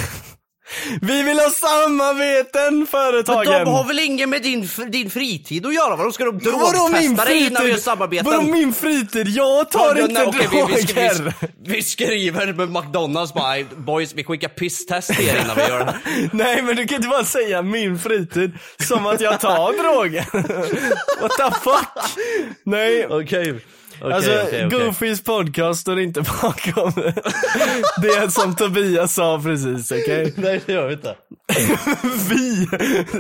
Speaker 2: Vi vill ha samarbeten
Speaker 1: Men
Speaker 2: företagen!
Speaker 1: de har väl ingen med din, din fritid att göra? Vadå, ska de drogtesta dig innan vi gör samarbeten?
Speaker 2: Vadå min fritid? Jag tar
Speaker 1: Ja,
Speaker 2: inte
Speaker 1: nej, okej,
Speaker 2: droger!
Speaker 1: vi, vi, sk- vi, vi skriver med McDonalds bara, "Aj, boys vi skickar pisstest till er innan vi gör det här."
Speaker 2: *laughs* Nej men du kan inte bara säga min fritid som att jag
Speaker 1: *laughs*
Speaker 2: tar droger. *laughs* What the fuck?
Speaker 1: *laughs*
Speaker 2: Nej.
Speaker 1: Okej. Okay.
Speaker 2: Alltså, Goofys podcast står inte *laughs* bakom det som Tobias sa precis, okej?
Speaker 1: Nej det gör vi inte.
Speaker 2: Vi!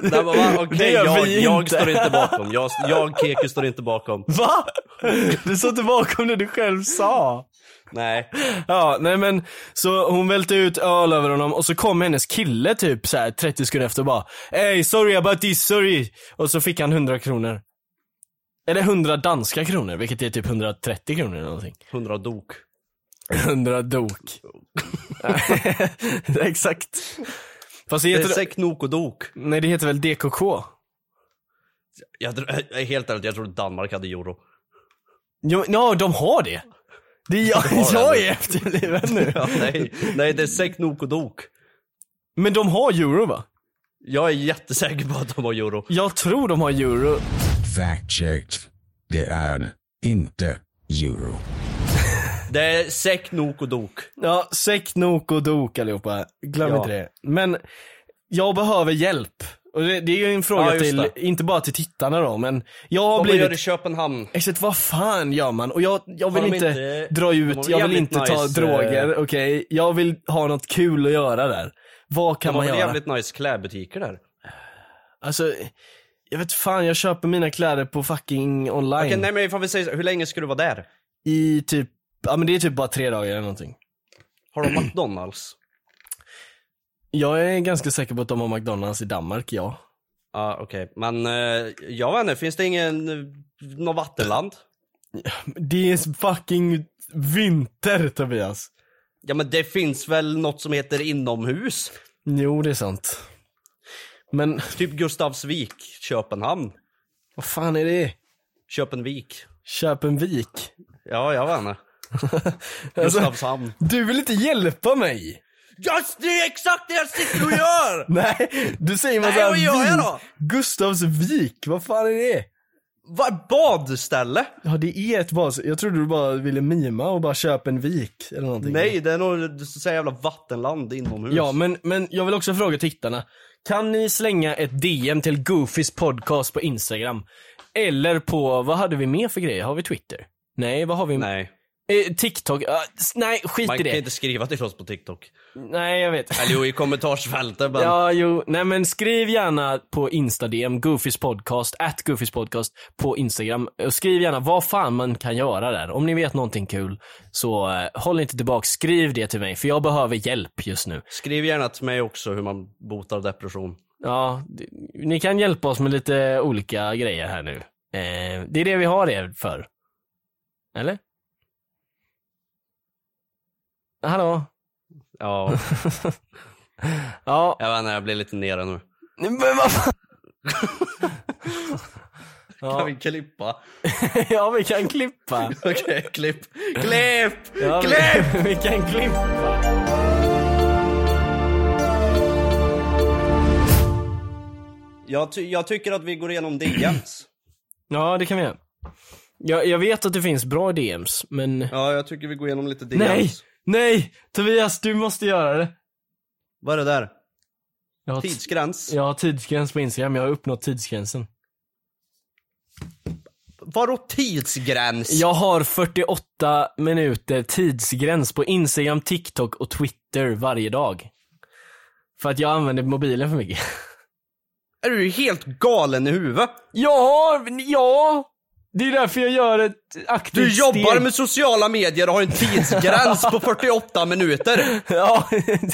Speaker 1: Nej, men, va?
Speaker 2: Det
Speaker 1: Okej,
Speaker 2: gör
Speaker 1: jag,
Speaker 2: vi
Speaker 1: jag
Speaker 2: inte.
Speaker 1: står inte bakom. Jag, jag Keku står inte bakom.
Speaker 2: Va? Du sa inte bakom det du själv sa.
Speaker 1: Nej.
Speaker 2: Ja, nej men så hon välte ut öl över honom och så kom hennes kille typ så här 30 sekunder efter och bara Hey sorry about this, sorry. Och så fick han 100 kronor. Eller 100 danska kronor, vilket är typ 130 kronor eller någonting.
Speaker 1: 100 dok.
Speaker 2: 100 dok. *laughs* Exakt. Fast det
Speaker 1: Det är
Speaker 2: heter,
Speaker 1: säck, nok och dok.
Speaker 2: nej det heter väl DKK?
Speaker 1: Jag, dr- jag, är helt ärligt, jag tror Danmark hade euro.
Speaker 2: Jo, no, de har det. Det är jag,
Speaker 1: har det.
Speaker 2: *laughs* jag är efterbliven nu.
Speaker 1: Ja, nej, nej, det är säck, nok och dok.
Speaker 2: Men de har euro va?
Speaker 1: Jag är jättesäker på att de har euro.
Speaker 2: Jag tror de har euro.
Speaker 6: Fact checked. Det är inte euro.
Speaker 1: Det är säck, nok och dok.
Speaker 2: Ja, säck, nok och dok allihopa. Glöm
Speaker 1: Ja.
Speaker 2: inte det. Men jag behöver hjälp. Och det, det är ju en fråga
Speaker 1: Ja, just
Speaker 2: till,
Speaker 1: det.
Speaker 2: inte bara till tittarna då, men jag har
Speaker 1: Vad gör i
Speaker 2: blivit...
Speaker 1: Köpenhamn?
Speaker 2: Exakt, vad fan gör man? Och jag, jag vill
Speaker 1: de
Speaker 2: inte,
Speaker 1: inte-
Speaker 2: dra
Speaker 1: de
Speaker 2: ut,
Speaker 1: har
Speaker 2: jag vill
Speaker 1: jävligt
Speaker 2: inte ta
Speaker 1: nice, eh,
Speaker 2: droger, okej? Jag vill ha något kul att göra där. Vad kan
Speaker 1: De har
Speaker 2: man
Speaker 1: väl
Speaker 2: göra?
Speaker 1: jävligt nice klädbutiker där?
Speaker 2: Alltså, jag vet fan, jag köper mina kläder på fucking online.
Speaker 1: Okej, nej men ifall vi säger så, hur länge ska du vara där?
Speaker 2: I typ, ja men det är typ bara tre dagar eller någonting.
Speaker 1: Har de McDonalds?
Speaker 2: Jag är ganska säker på att de har McDonalds i Danmark, ja.
Speaker 1: Ja okej, men eh, jag vet inte, finns det ingen, eh, något vattenland?
Speaker 2: Det är fucking vinter Tobias.
Speaker 1: Ja men det finns väl något som heter inomhus?
Speaker 2: Jo, det är sant. Men
Speaker 1: Typ Gustavsvik, Köpenhamn,
Speaker 2: vad fan är det?
Speaker 1: Köpenvik.
Speaker 2: Köpenvik?
Speaker 1: Ja, jag vet inte.
Speaker 2: Alltså,
Speaker 1: *laughs* Gustavshamn.
Speaker 2: du vill inte hjälpa mig?
Speaker 1: Just det är exakt det jag sitter och gör!
Speaker 2: Nej, du säger
Speaker 1: Nej,
Speaker 2: massa
Speaker 1: vad gör jag
Speaker 2: vik.
Speaker 1: då?
Speaker 2: Gustavsvik, vad fan är det?
Speaker 1: *laughs* Vad badställe?
Speaker 2: Ja, det är ett bas. Jag trodde du bara ville mima och bara Köpenvik eller någonting.
Speaker 1: Nej, det är nog så jävla vattenland inomhus.
Speaker 2: Ja, men, men jag vill också fråga tittarna. Kan ni slänga ett DM till Goofys podcast på Instagram? Eller på, vad hade vi mer för grejer? Har vi Twitter? Nej, vad har vi?
Speaker 1: Nej,
Speaker 2: Eh, TikTok? Ah, s- nej, skit
Speaker 1: man
Speaker 2: i
Speaker 1: kan
Speaker 2: det.
Speaker 1: inte skriva till oss på TikTok.
Speaker 2: Nej, jag vet.
Speaker 1: Eller jo, i kommentarsfältet men...
Speaker 2: Ja, jo. Nej, men skriv gärna på Insta-DM, Goofys podcast, at Goofys podcast på Instagram. Och Skriv gärna vad fan man kan göra där. Om ni vet någonting kul, så eh, håll inte tillbaka. Skriv det till mig, för jag behöver hjälp just nu.
Speaker 1: Skriv gärna till mig också hur man botar depression.
Speaker 2: Ja, d- ni kan hjälpa oss med lite olika grejer här nu. Eh, det är det vi har er för. Eller? Hallå? *laughs*
Speaker 1: Ja,
Speaker 2: Ja.
Speaker 1: jag vet inte, jag blir lite nere nu.
Speaker 2: Men vad
Speaker 1: *laughs*
Speaker 2: fan?
Speaker 1: Kan vi klippa?
Speaker 2: *laughs* Ja, vi kan klippa.
Speaker 1: Okej, klipp. Klipp!
Speaker 2: Ja, vi-
Speaker 1: klipp!
Speaker 2: *laughs* Vi kan klippa.
Speaker 1: Jag, ty- jag tycker att vi går igenom DMs.
Speaker 2: Ja, det kan vi göra. Jag, jag vet att det finns bra DMs, men...
Speaker 1: Ja, jag tycker vi går igenom lite DMs.
Speaker 2: nej! Nej! Tobias, du måste göra det.
Speaker 1: Vad är det där?
Speaker 2: Jag har, t-
Speaker 1: Tidsgräns?
Speaker 2: jag har tidsgräns på Instagram, jag har uppnått tidsgränsen.
Speaker 1: Vadå tidsgräns?
Speaker 2: Jag har 48 minuter tidsgräns på Instagram, TikTok och Twitter varje dag. För att jag använder mobilen för mycket. *laughs*
Speaker 1: Är du helt galen i huvudet?
Speaker 2: Ja, ja! Det är därför jag gör ett aktivt
Speaker 1: Du jobbar
Speaker 2: steg.
Speaker 1: med sociala medier och har en tidsgräns *laughs* på 48 minuter.
Speaker 2: *laughs* *laughs* Ja.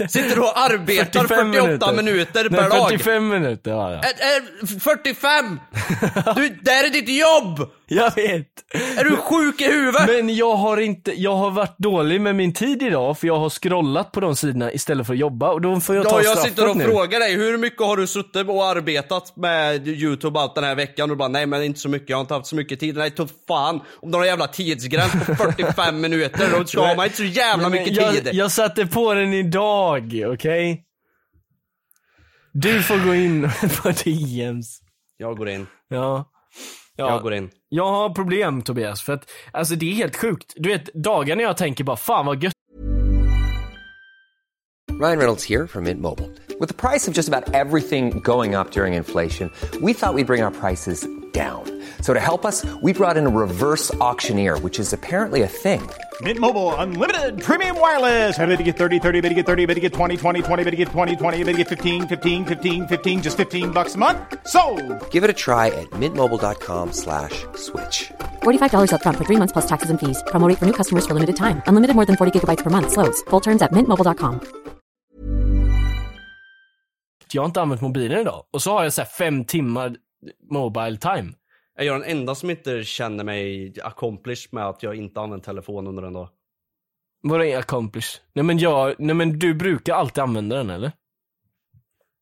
Speaker 1: Sitter du och arbetar 48 minuter, per
Speaker 2: Nej,
Speaker 1: dag?
Speaker 2: 45 minuter har jag.
Speaker 1: Ä- ä- 45! Du, det här är ditt jobb!
Speaker 2: Jag vet.
Speaker 1: Är du sjuk i huvudet?
Speaker 2: Men jag har inte, jag har varit dålig med min tid idag för jag har scrollat på de sidorna istället för att jobba och då får jag ta
Speaker 1: ja, jag
Speaker 2: straffet
Speaker 1: sitter och
Speaker 2: nu.
Speaker 1: frågar dig, hur mycket har du suttit och arbetat med YouTube allt den här veckan? Och du bara, nej men inte så mycket, jag har inte haft så mycket tid. Nej, ta fan om du har en jävla tidsgräns på 45 *laughs* minuter, då ska man inte så jävla
Speaker 2: Men
Speaker 1: mycket
Speaker 2: jag,
Speaker 1: tid.
Speaker 2: Jag satte på den idag, okej? Du får gå in *laughs* på DMs.
Speaker 1: Jag går in,
Speaker 2: Ja. ja.
Speaker 1: jag går in.
Speaker 2: Jag har problem Tobias, för att alltså det är helt sjukt. Du vet, dagar när jag tänker bara fan vad gött
Speaker 7: Ryan Reynolds here from Mint Mobile. With the price of just about everything going up during inflation, we thought we'd bring our prices down. So to help us, we brought in a reverse auctioneer, which is apparently a thing.
Speaker 8: Mint Mobile unlimited premium wireless. Ready to get 30, 30, bet you get 30, bet you get 20, 20, 20, bet you get 20, 20, bet you get 15, 15, 15, 15 just 15 bucks a month. So,
Speaker 7: Give it a try at mintmobile.com slash switch.
Speaker 9: $45 up front for three months plus taxes and fees. Promo rate for new customers for limited time. Unlimited more than 40 gigabytes per month. Slows. Full terms at mintmobile.com.
Speaker 2: jag har inte använt mobilen idag. Och så har jag så här fem timmar mobile time.
Speaker 1: Jag är den enda som inte känner mig accomplished med att jag inte använt telefon under en dag.
Speaker 2: Vad är accomplish? Nej men jag, nej men du brukar alltid använda den eller?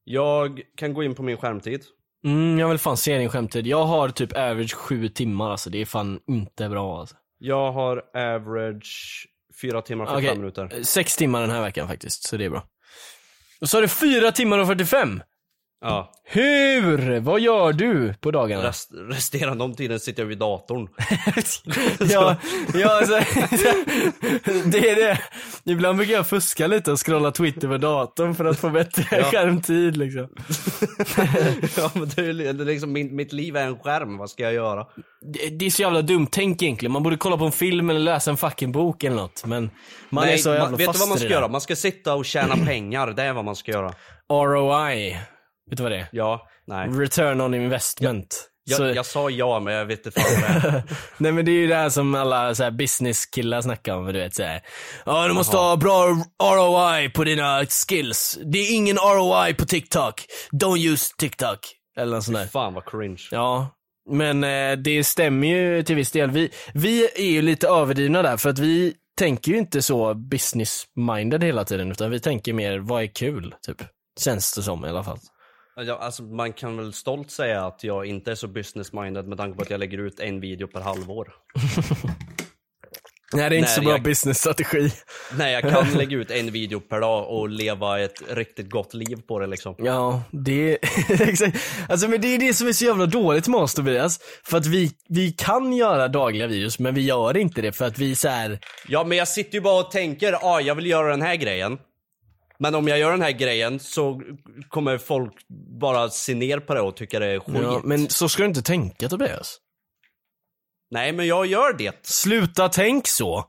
Speaker 1: Jag kan gå in på min skärmtid.
Speaker 2: Mm, jag vill fan se din skämtid. Jag har typ average sju timmar alltså, det är fan inte bra alltså.
Speaker 1: Jag har average 4 timmar och 45
Speaker 2: Okej,
Speaker 1: minuter.
Speaker 2: eh, sex timmar den här veckan faktiskt, så det är bra. Och så har du fyra timmar och 45!
Speaker 1: Ja,
Speaker 2: Hur? Vad gör du på dagarna?
Speaker 1: rest, resterande om tiden sitter jag vid datorn.
Speaker 2: *laughs* ja, ja så, *laughs* det är det. Ibland brukar jag fuska lite och scrolla Twitter på datorn för att få bättre skärmtid liksom.
Speaker 1: ja, men det är, li- det är liksom, min, mitt liv är en skärm, vad ska jag göra?
Speaker 2: Det, det är så jävla dumt tänk egentligen. Man borde kolla på en film eller läsa en fucking bok eller något. Men man är
Speaker 1: Nej,
Speaker 2: så jävla
Speaker 1: man, vet du
Speaker 2: fast
Speaker 1: vad man
Speaker 2: i det
Speaker 1: ska
Speaker 2: där.
Speaker 1: göra? Man ska sitta och
Speaker 2: *clears throat*
Speaker 1: tjäna pengar, det är vad man ska göra.
Speaker 2: ROI. Vet du vad det är?
Speaker 1: Ja, nej.
Speaker 2: Return on investment.
Speaker 1: Jag,
Speaker 2: Så-
Speaker 1: jag sa ja, men jag vet inte fan vad det är.
Speaker 2: *laughs* Nej men det är ju det här som alla så här businesskillar snackar om, du vet såhär. Ja du måste ha bra ROI på dina skills. Det är ingen ROI på TikTok. Don't use TikTok. Eller något sånt där.
Speaker 1: Fan vad cringe.
Speaker 2: Ja. Men eh, det stämmer ju till viss del. Vi, vi är ju lite överdrivna där för att vi tänker ju inte så business-minded hela tiden utan vi tänker mer vad är kul, typ. Känns det som i alla fall.
Speaker 1: Ja, alltså, man kan väl stolt säga att jag inte är så business-minded med tanke på att jag lägger ut en video per halvår.
Speaker 2: Nej det är inte
Speaker 1: Nej,
Speaker 2: så bra
Speaker 1: jag-
Speaker 2: business-strategi.
Speaker 1: Nej, jag
Speaker 2: *laughs*
Speaker 1: kan lägga ut en video per dag och leva ett riktigt gott liv på det liksom.
Speaker 2: Ja, det *laughs* exakt. Alltså men det är det som är så jävla dåligt med oss Tobias. För att vi, vi kan göra dagliga videos men vi gör inte det för att vi är så här.
Speaker 1: Ja, men jag sitter ju bara och tänker, ah, jag vill göra den här grejen. Men om jag gör den här grejen så kommer folk bara se ner på det och tycka det är skit.
Speaker 2: Ja, men så ska du inte tänka Tobias.
Speaker 1: Nej, men jag gör det.
Speaker 2: Sluta tänk så.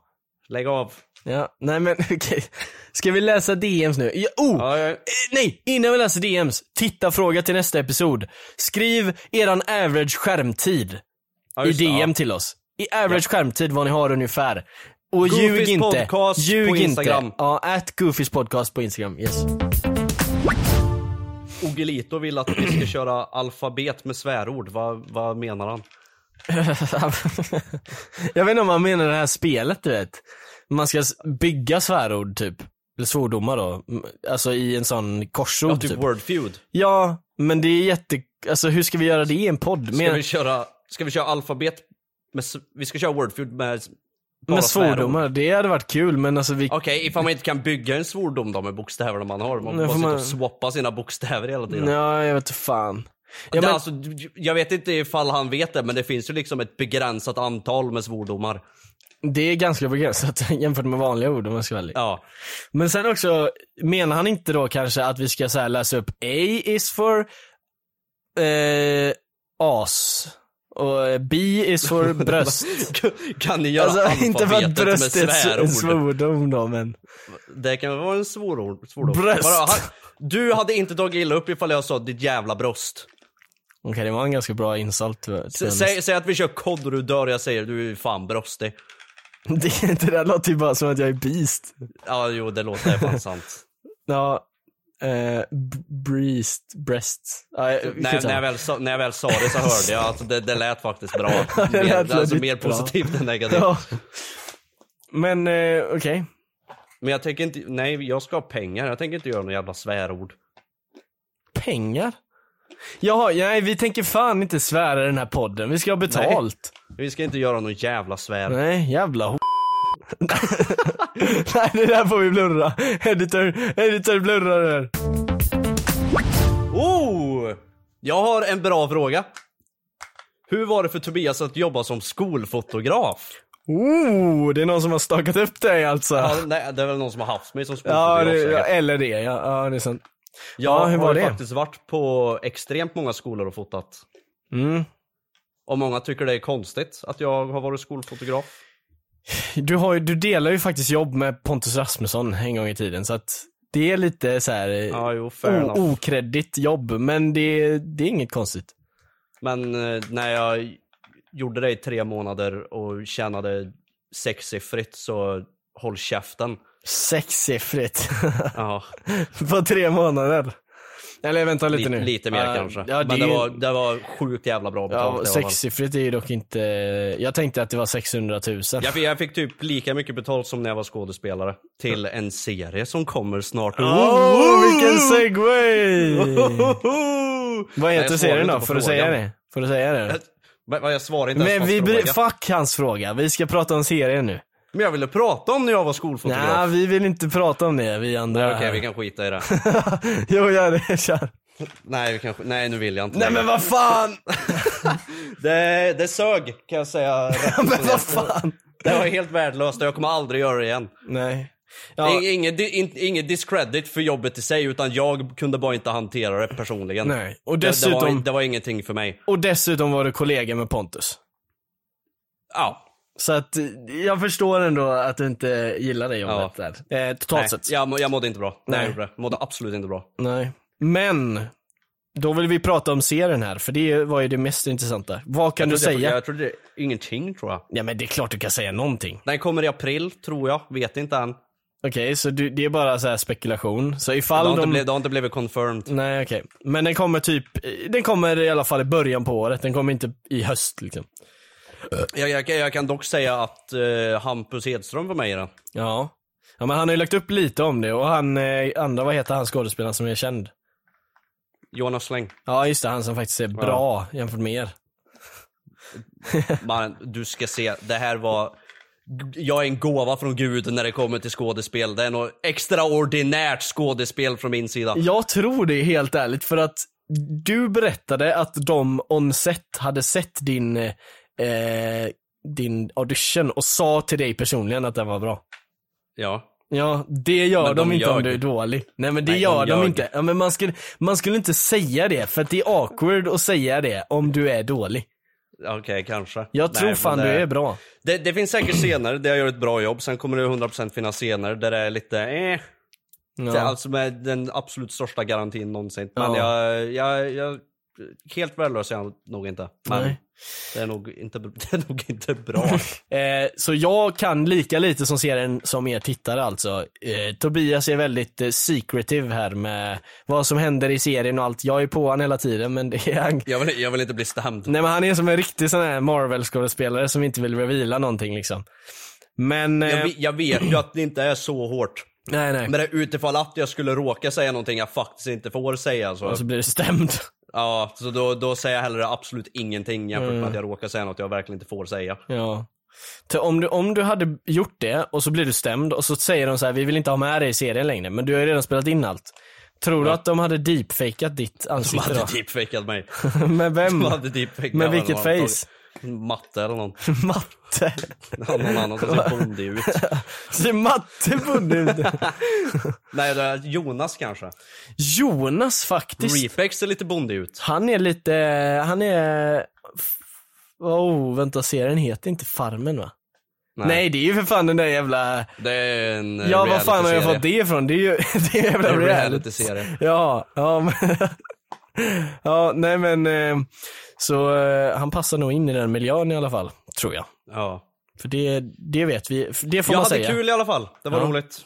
Speaker 1: Lägg av.
Speaker 2: Ja, nej men *laughs* okej. Ska vi läsa DMs nu? Ja, oh!
Speaker 1: Ja, jag-
Speaker 2: Eh, Nej, innan vi läser DMs. Titta fråga till nästa episod. Skriv eran average skärmtid
Speaker 1: Ja,
Speaker 2: i
Speaker 1: just det,
Speaker 2: DM
Speaker 1: ja.
Speaker 2: till oss. I average skärmtid vad ni har ungefär. Och
Speaker 1: Goofies
Speaker 2: ljug inte.
Speaker 1: podcast på
Speaker 2: ljug
Speaker 1: Instagram.
Speaker 2: inte. Ja, at Goofys podcast på Instagram. Yes. *laughs*
Speaker 1: Ogelito vill att vi ska köra alfabet med svärord. Vad, vad menar han?
Speaker 2: Jag vet inte om man menar det här spelet du vet. Man ska s- bygga svärord typ. Eller svordomar då. Mm, Alltså i en sån korsord
Speaker 1: Ja, typ wordfeud.
Speaker 2: Ja, men det är jätte... Alltså hur ska vi göra det i en podd?
Speaker 1: Ska
Speaker 2: Med,
Speaker 1: vi köra, ska vi köra alfabet med, s- vi ska köra wordfeud med s- bara
Speaker 2: med
Speaker 1: svärord.
Speaker 2: svordomar? Det hade varit kul, men alltså vi...
Speaker 1: Okej, ifall man inte kan bygga en svordom då med bokstäverna man har. Man
Speaker 2: Nej,
Speaker 1: får bara
Speaker 2: får
Speaker 1: sitta
Speaker 2: man-
Speaker 1: och swappa sina bokstäver hela tiden.
Speaker 2: Ja, jag vet inte fan. Ja,
Speaker 1: det,
Speaker 2: men-
Speaker 1: alltså, jag vet inte ifall han vet det, men det finns ju liksom ett begränsat antal med svordomar.
Speaker 2: Det är ganska begränsat *laughs* jämfört med vanliga ord om jag ska vara ärlig.
Speaker 1: Ja. *laughs*
Speaker 2: Men sen också, menar han inte då kanske att vi ska så här läsa upp A is for eh, as och eh, B is *laughs* for bröst.
Speaker 1: Kan ni göra
Speaker 2: alltså inte för att
Speaker 1: alfabetet med
Speaker 2: bröst är ett
Speaker 1: svärord?
Speaker 2: s- svordom då men.
Speaker 1: Det kan vara en svordom. svordom.
Speaker 2: Bröst.
Speaker 1: Vadå, han- Du hade inte tagit illa upp ifall jag sa ditt jävla bröst.
Speaker 2: Okej det var en ganska bra insult. tyvärr.
Speaker 1: S- Säg, säg att vi kör kod och du dör och jag säger du är ju fan bröstig.
Speaker 2: *laughs* Det, det där låter ju bara som att jag är beast.
Speaker 1: Ja, jo det låter fan
Speaker 2: *laughs*
Speaker 1: sant.
Speaker 2: Ja, eh, b- breast, breast. Ja, jag-
Speaker 1: när,
Speaker 2: skitsamma.
Speaker 1: när, jag väl sa, när jag väl sa det så hörde jag att det, det lät faktiskt bra.
Speaker 2: *laughs* Det lät
Speaker 1: Mer, alltså
Speaker 2: väldigt
Speaker 1: mer
Speaker 2: bra.
Speaker 1: positivt än negativt.
Speaker 2: ja. Men eh, okej.
Speaker 1: Men jag tänker inte, nej jag ska ha pengar, jag tänker inte göra några jävla svärord.
Speaker 2: Pengar? Jaha, nej vi tänker fan inte svära i den här podden. Vi ska ha betalt.
Speaker 1: Vi ska inte göra någon jävla svärd.
Speaker 2: Nej, jävla ho- *laughs* Nej det där får vi blurra. Editor, editor blurrar det här.
Speaker 1: Oh! Jag har en bra fråga. Hur var det för Tobias att jobba som skolfotograf?
Speaker 2: Oh, det är någon som har stakat upp dig alltså.
Speaker 1: Ja,
Speaker 2: Ja,
Speaker 1: nej, det är väl någon som har haft mig som skolfotograf.
Speaker 2: ja, det, ja
Speaker 1: säkert.
Speaker 2: eller det. Ja, ja det är sant.
Speaker 1: jag
Speaker 2: ja, hur var
Speaker 1: har
Speaker 2: det?
Speaker 1: faktiskt varit på extremt många skolor och fotat.
Speaker 2: Mm.
Speaker 1: Och många tycker det är konstigt att jag har varit skolfotograf.
Speaker 2: Du, har, ju- du delar ju faktiskt jobb med Pontus Rasmusson en gång i tiden så att det är lite så här eh,
Speaker 1: Ja, jo, fair
Speaker 2: o-
Speaker 1: enough.
Speaker 2: okreddigt jobb men det, det är inget konstigt.
Speaker 1: Men eh, när jag gjorde det i tre månader och tjänade sexsiffrigt så håll käften.
Speaker 2: Sexsiffrigt. *laughs*
Speaker 1: Ja,
Speaker 2: På tre månader. Eller vänta lite
Speaker 1: lite,
Speaker 2: nu.
Speaker 1: lite mer
Speaker 2: Ja,
Speaker 1: kanske.
Speaker 2: Ja, det
Speaker 1: Men det,
Speaker 2: är ju,
Speaker 1: var, det var sjukt jävla bra betalt. i
Speaker 2: ja,
Speaker 1: alla fall.
Speaker 2: sexsiffrigt är ju dock inte... Jag tänkte att det var 600 000.
Speaker 1: Jag fick, jag fick typ lika mycket betalt som när jag var skådespelare till en serie som kommer snart.
Speaker 2: Oh, vilken
Speaker 1: *laughs*
Speaker 2: segway! Vad
Speaker 1: Nej, jag svarade
Speaker 2: heter serien
Speaker 1: inte
Speaker 2: då?
Speaker 1: på
Speaker 2: Får
Speaker 1: frågan.
Speaker 2: du säga det? Får du säga det?
Speaker 1: Men, men jag svarar inte ens
Speaker 2: Men
Speaker 1: på
Speaker 2: vi
Speaker 1: hans
Speaker 2: bry-
Speaker 1: fråga.
Speaker 2: Fuck hans fråga. Vi ska prata om serien nu.
Speaker 1: Men jag ville prata om när jag var
Speaker 2: Nej,
Speaker 1: skolfotograf.
Speaker 2: vi vill inte prata om det, vi andra.
Speaker 1: Okej,
Speaker 2: här.
Speaker 1: vi kan skita i det.
Speaker 2: *laughs* jo, gör det. Kör.
Speaker 1: Nej, vi kan, sk- nej nu vill jag inte
Speaker 2: Nej
Speaker 1: längre.
Speaker 2: men vad fan!
Speaker 1: det, det sög kan jag säga. rätt upp
Speaker 2: *laughs* *laughs* men
Speaker 1: och ner. *laughs*
Speaker 2: vad fan!
Speaker 1: Det var helt värdelöst och jag kommer aldrig göra det igen.
Speaker 2: Nej.
Speaker 1: Ja.
Speaker 2: Ja,
Speaker 1: Inget in, ingen discredit för jobbet i sig utan jag kunde bara inte hantera det personligen.
Speaker 2: nej. Och
Speaker 1: Det, det, var,
Speaker 2: dessutom,
Speaker 1: det var ingenting för mig.
Speaker 2: och dessutom var du kollega med Pontus.
Speaker 1: Ja.
Speaker 2: Så att eh, jag förstår ändå att du inte gillar det jobbet där. Eh, totalt
Speaker 1: Nej,
Speaker 2: sett.
Speaker 1: jag, må- jag mådde inte bra. Nej.
Speaker 2: Nej.
Speaker 1: Jag gjorde det. Jag mådde absolut inte bra.
Speaker 2: Nej. Men, då vill vi prata om serien här, för det var ju det mest intressanta. Vad kan du
Speaker 1: Jag trodde-
Speaker 2: säga?
Speaker 1: Jag trodde ingenting tror jag.
Speaker 2: Ja men det är klart du kan säga någonting.
Speaker 1: Den kommer i april tror jag, vet inte än.
Speaker 2: Okej, så du, det är bara så här spekulation. Så
Speaker 1: Det
Speaker 2: ifall
Speaker 1: har,
Speaker 2: de...
Speaker 1: inte blivit, det har inte blivit confirmed.
Speaker 2: Nej okej. Men den kommer typ, den kommer i alla fall i början på året. Den kommer inte i höst liksom.
Speaker 1: Jag, jag, kan- jag kan dock säga att eh, Hampus Hedström var med i den.
Speaker 2: Ja. Ja men han har ju lagt upp lite om det och han, eh, andra, vad heter han skådespelaren som är känd?
Speaker 1: Jonas Släng.
Speaker 2: Ja just det, han som faktiskt är bra jämfört med er.
Speaker 1: Man, du ska se, det här var... Jag är en gåva från gud när det kommer till skådespel. Det är något extraordinärt skådespel från min sida.
Speaker 2: Jag tror det helt ärligt för att du berättade att de on set hade sett din, eh, din audition och sa till dig personligen att den var bra.
Speaker 1: Ja.
Speaker 2: Ja, det gör
Speaker 1: Men
Speaker 2: de,
Speaker 1: de
Speaker 2: inte om
Speaker 1: ljög.
Speaker 2: du är dålig. Nej men det
Speaker 1: Nej, de
Speaker 2: gör de,
Speaker 1: ljög.
Speaker 2: inte. Ja, men man, skulle, man skulle inte säga det, för att det är awkward att säga det om du är dålig.
Speaker 1: Okej, kanske.
Speaker 2: Jag
Speaker 1: Nej,
Speaker 2: tror
Speaker 1: men
Speaker 2: fan
Speaker 1: det...
Speaker 2: du är bra.
Speaker 1: Det, det finns säkert scener där jag gör ett bra jobb, sen kommer det 100% finnas scener där det är lite eh.
Speaker 2: Ja.
Speaker 1: Det är Alltså med den absolut största garantin någonsin. Men
Speaker 2: Ja.
Speaker 1: jag, jag, jag, helt värdelös är jag nog inte. Men
Speaker 2: Nej.
Speaker 1: det är nog inte, *laughs* det är nog inte bra.
Speaker 2: *laughs* Eh, så jag kan lika lite som serien som er tittare alltså. Eh, Tobias är väldigt eh, secretive här med vad som händer i serien och allt. Jag är på han hela tiden men det är han.
Speaker 1: jag, vill, jag vill inte bli stämd.
Speaker 2: Nej men han är som en riktig sån här Marvel-skådespelare som inte vill reveala någonting liksom. Men, eh,
Speaker 1: Jag, ve- jag vet ju att det inte är så hårt.
Speaker 2: nej nej.
Speaker 1: Men det är utifall att jag skulle råka säga någonting jag faktiskt inte får säga så,
Speaker 2: Och så blir det stämd. *laughs*
Speaker 1: ja, så då, då säger jag hellre absolut ingenting jämfört
Speaker 2: Mm.
Speaker 1: med att jag råkar säga något jag verkligen inte får säga.
Speaker 2: Ja. Till- Om du, om du hade gjort det och så blir du stämd och så säger de så här, vi vill inte ha med dig i serien längre, men du har ju redan spelat in allt. Tror du att de hade deepfakeat ditt
Speaker 1: Som
Speaker 2: ansikte
Speaker 1: hade
Speaker 2: då?
Speaker 1: deepfakeat
Speaker 2: *laughs*
Speaker 1: mig.
Speaker 2: Med
Speaker 1: Som
Speaker 2: vem?
Speaker 1: hade typ deepfakeat
Speaker 2: Med
Speaker 1: mig.
Speaker 2: vilket
Speaker 1: Det var
Speaker 2: face? *laughs*
Speaker 1: antagligen Matte eller någon.
Speaker 2: Matte.
Speaker 1: Någon annan som ser bondig
Speaker 2: *laughs*
Speaker 1: ut.
Speaker 2: Ser Matte bunden ut?
Speaker 1: Nej, det är Jonas kanske.
Speaker 2: Jonas faktiskt.
Speaker 1: Reflex ser lite bondig ut.
Speaker 2: Han är lite, han är... f- Oh, vänta, serien heter inte Farmen va? Nej. det är ju för fan den där jävla...
Speaker 1: Det är en eh,
Speaker 2: Ja, vad fan har jag
Speaker 1: realityserie.
Speaker 2: fått det ifrån? Det är ju *laughs* det är jävla
Speaker 1: En
Speaker 2: reality.
Speaker 1: realityserie.
Speaker 2: Ja, ja men... *laughs* Ja, nej men... eh, Så eh, han passar nog in i den miljön i alla fall, tror jag.
Speaker 1: Ja.
Speaker 2: För det, det vet vi, för det får
Speaker 1: Jag
Speaker 2: man
Speaker 1: hade
Speaker 2: säga.
Speaker 1: kul i alla fall. Det var
Speaker 2: Ja.
Speaker 1: roligt.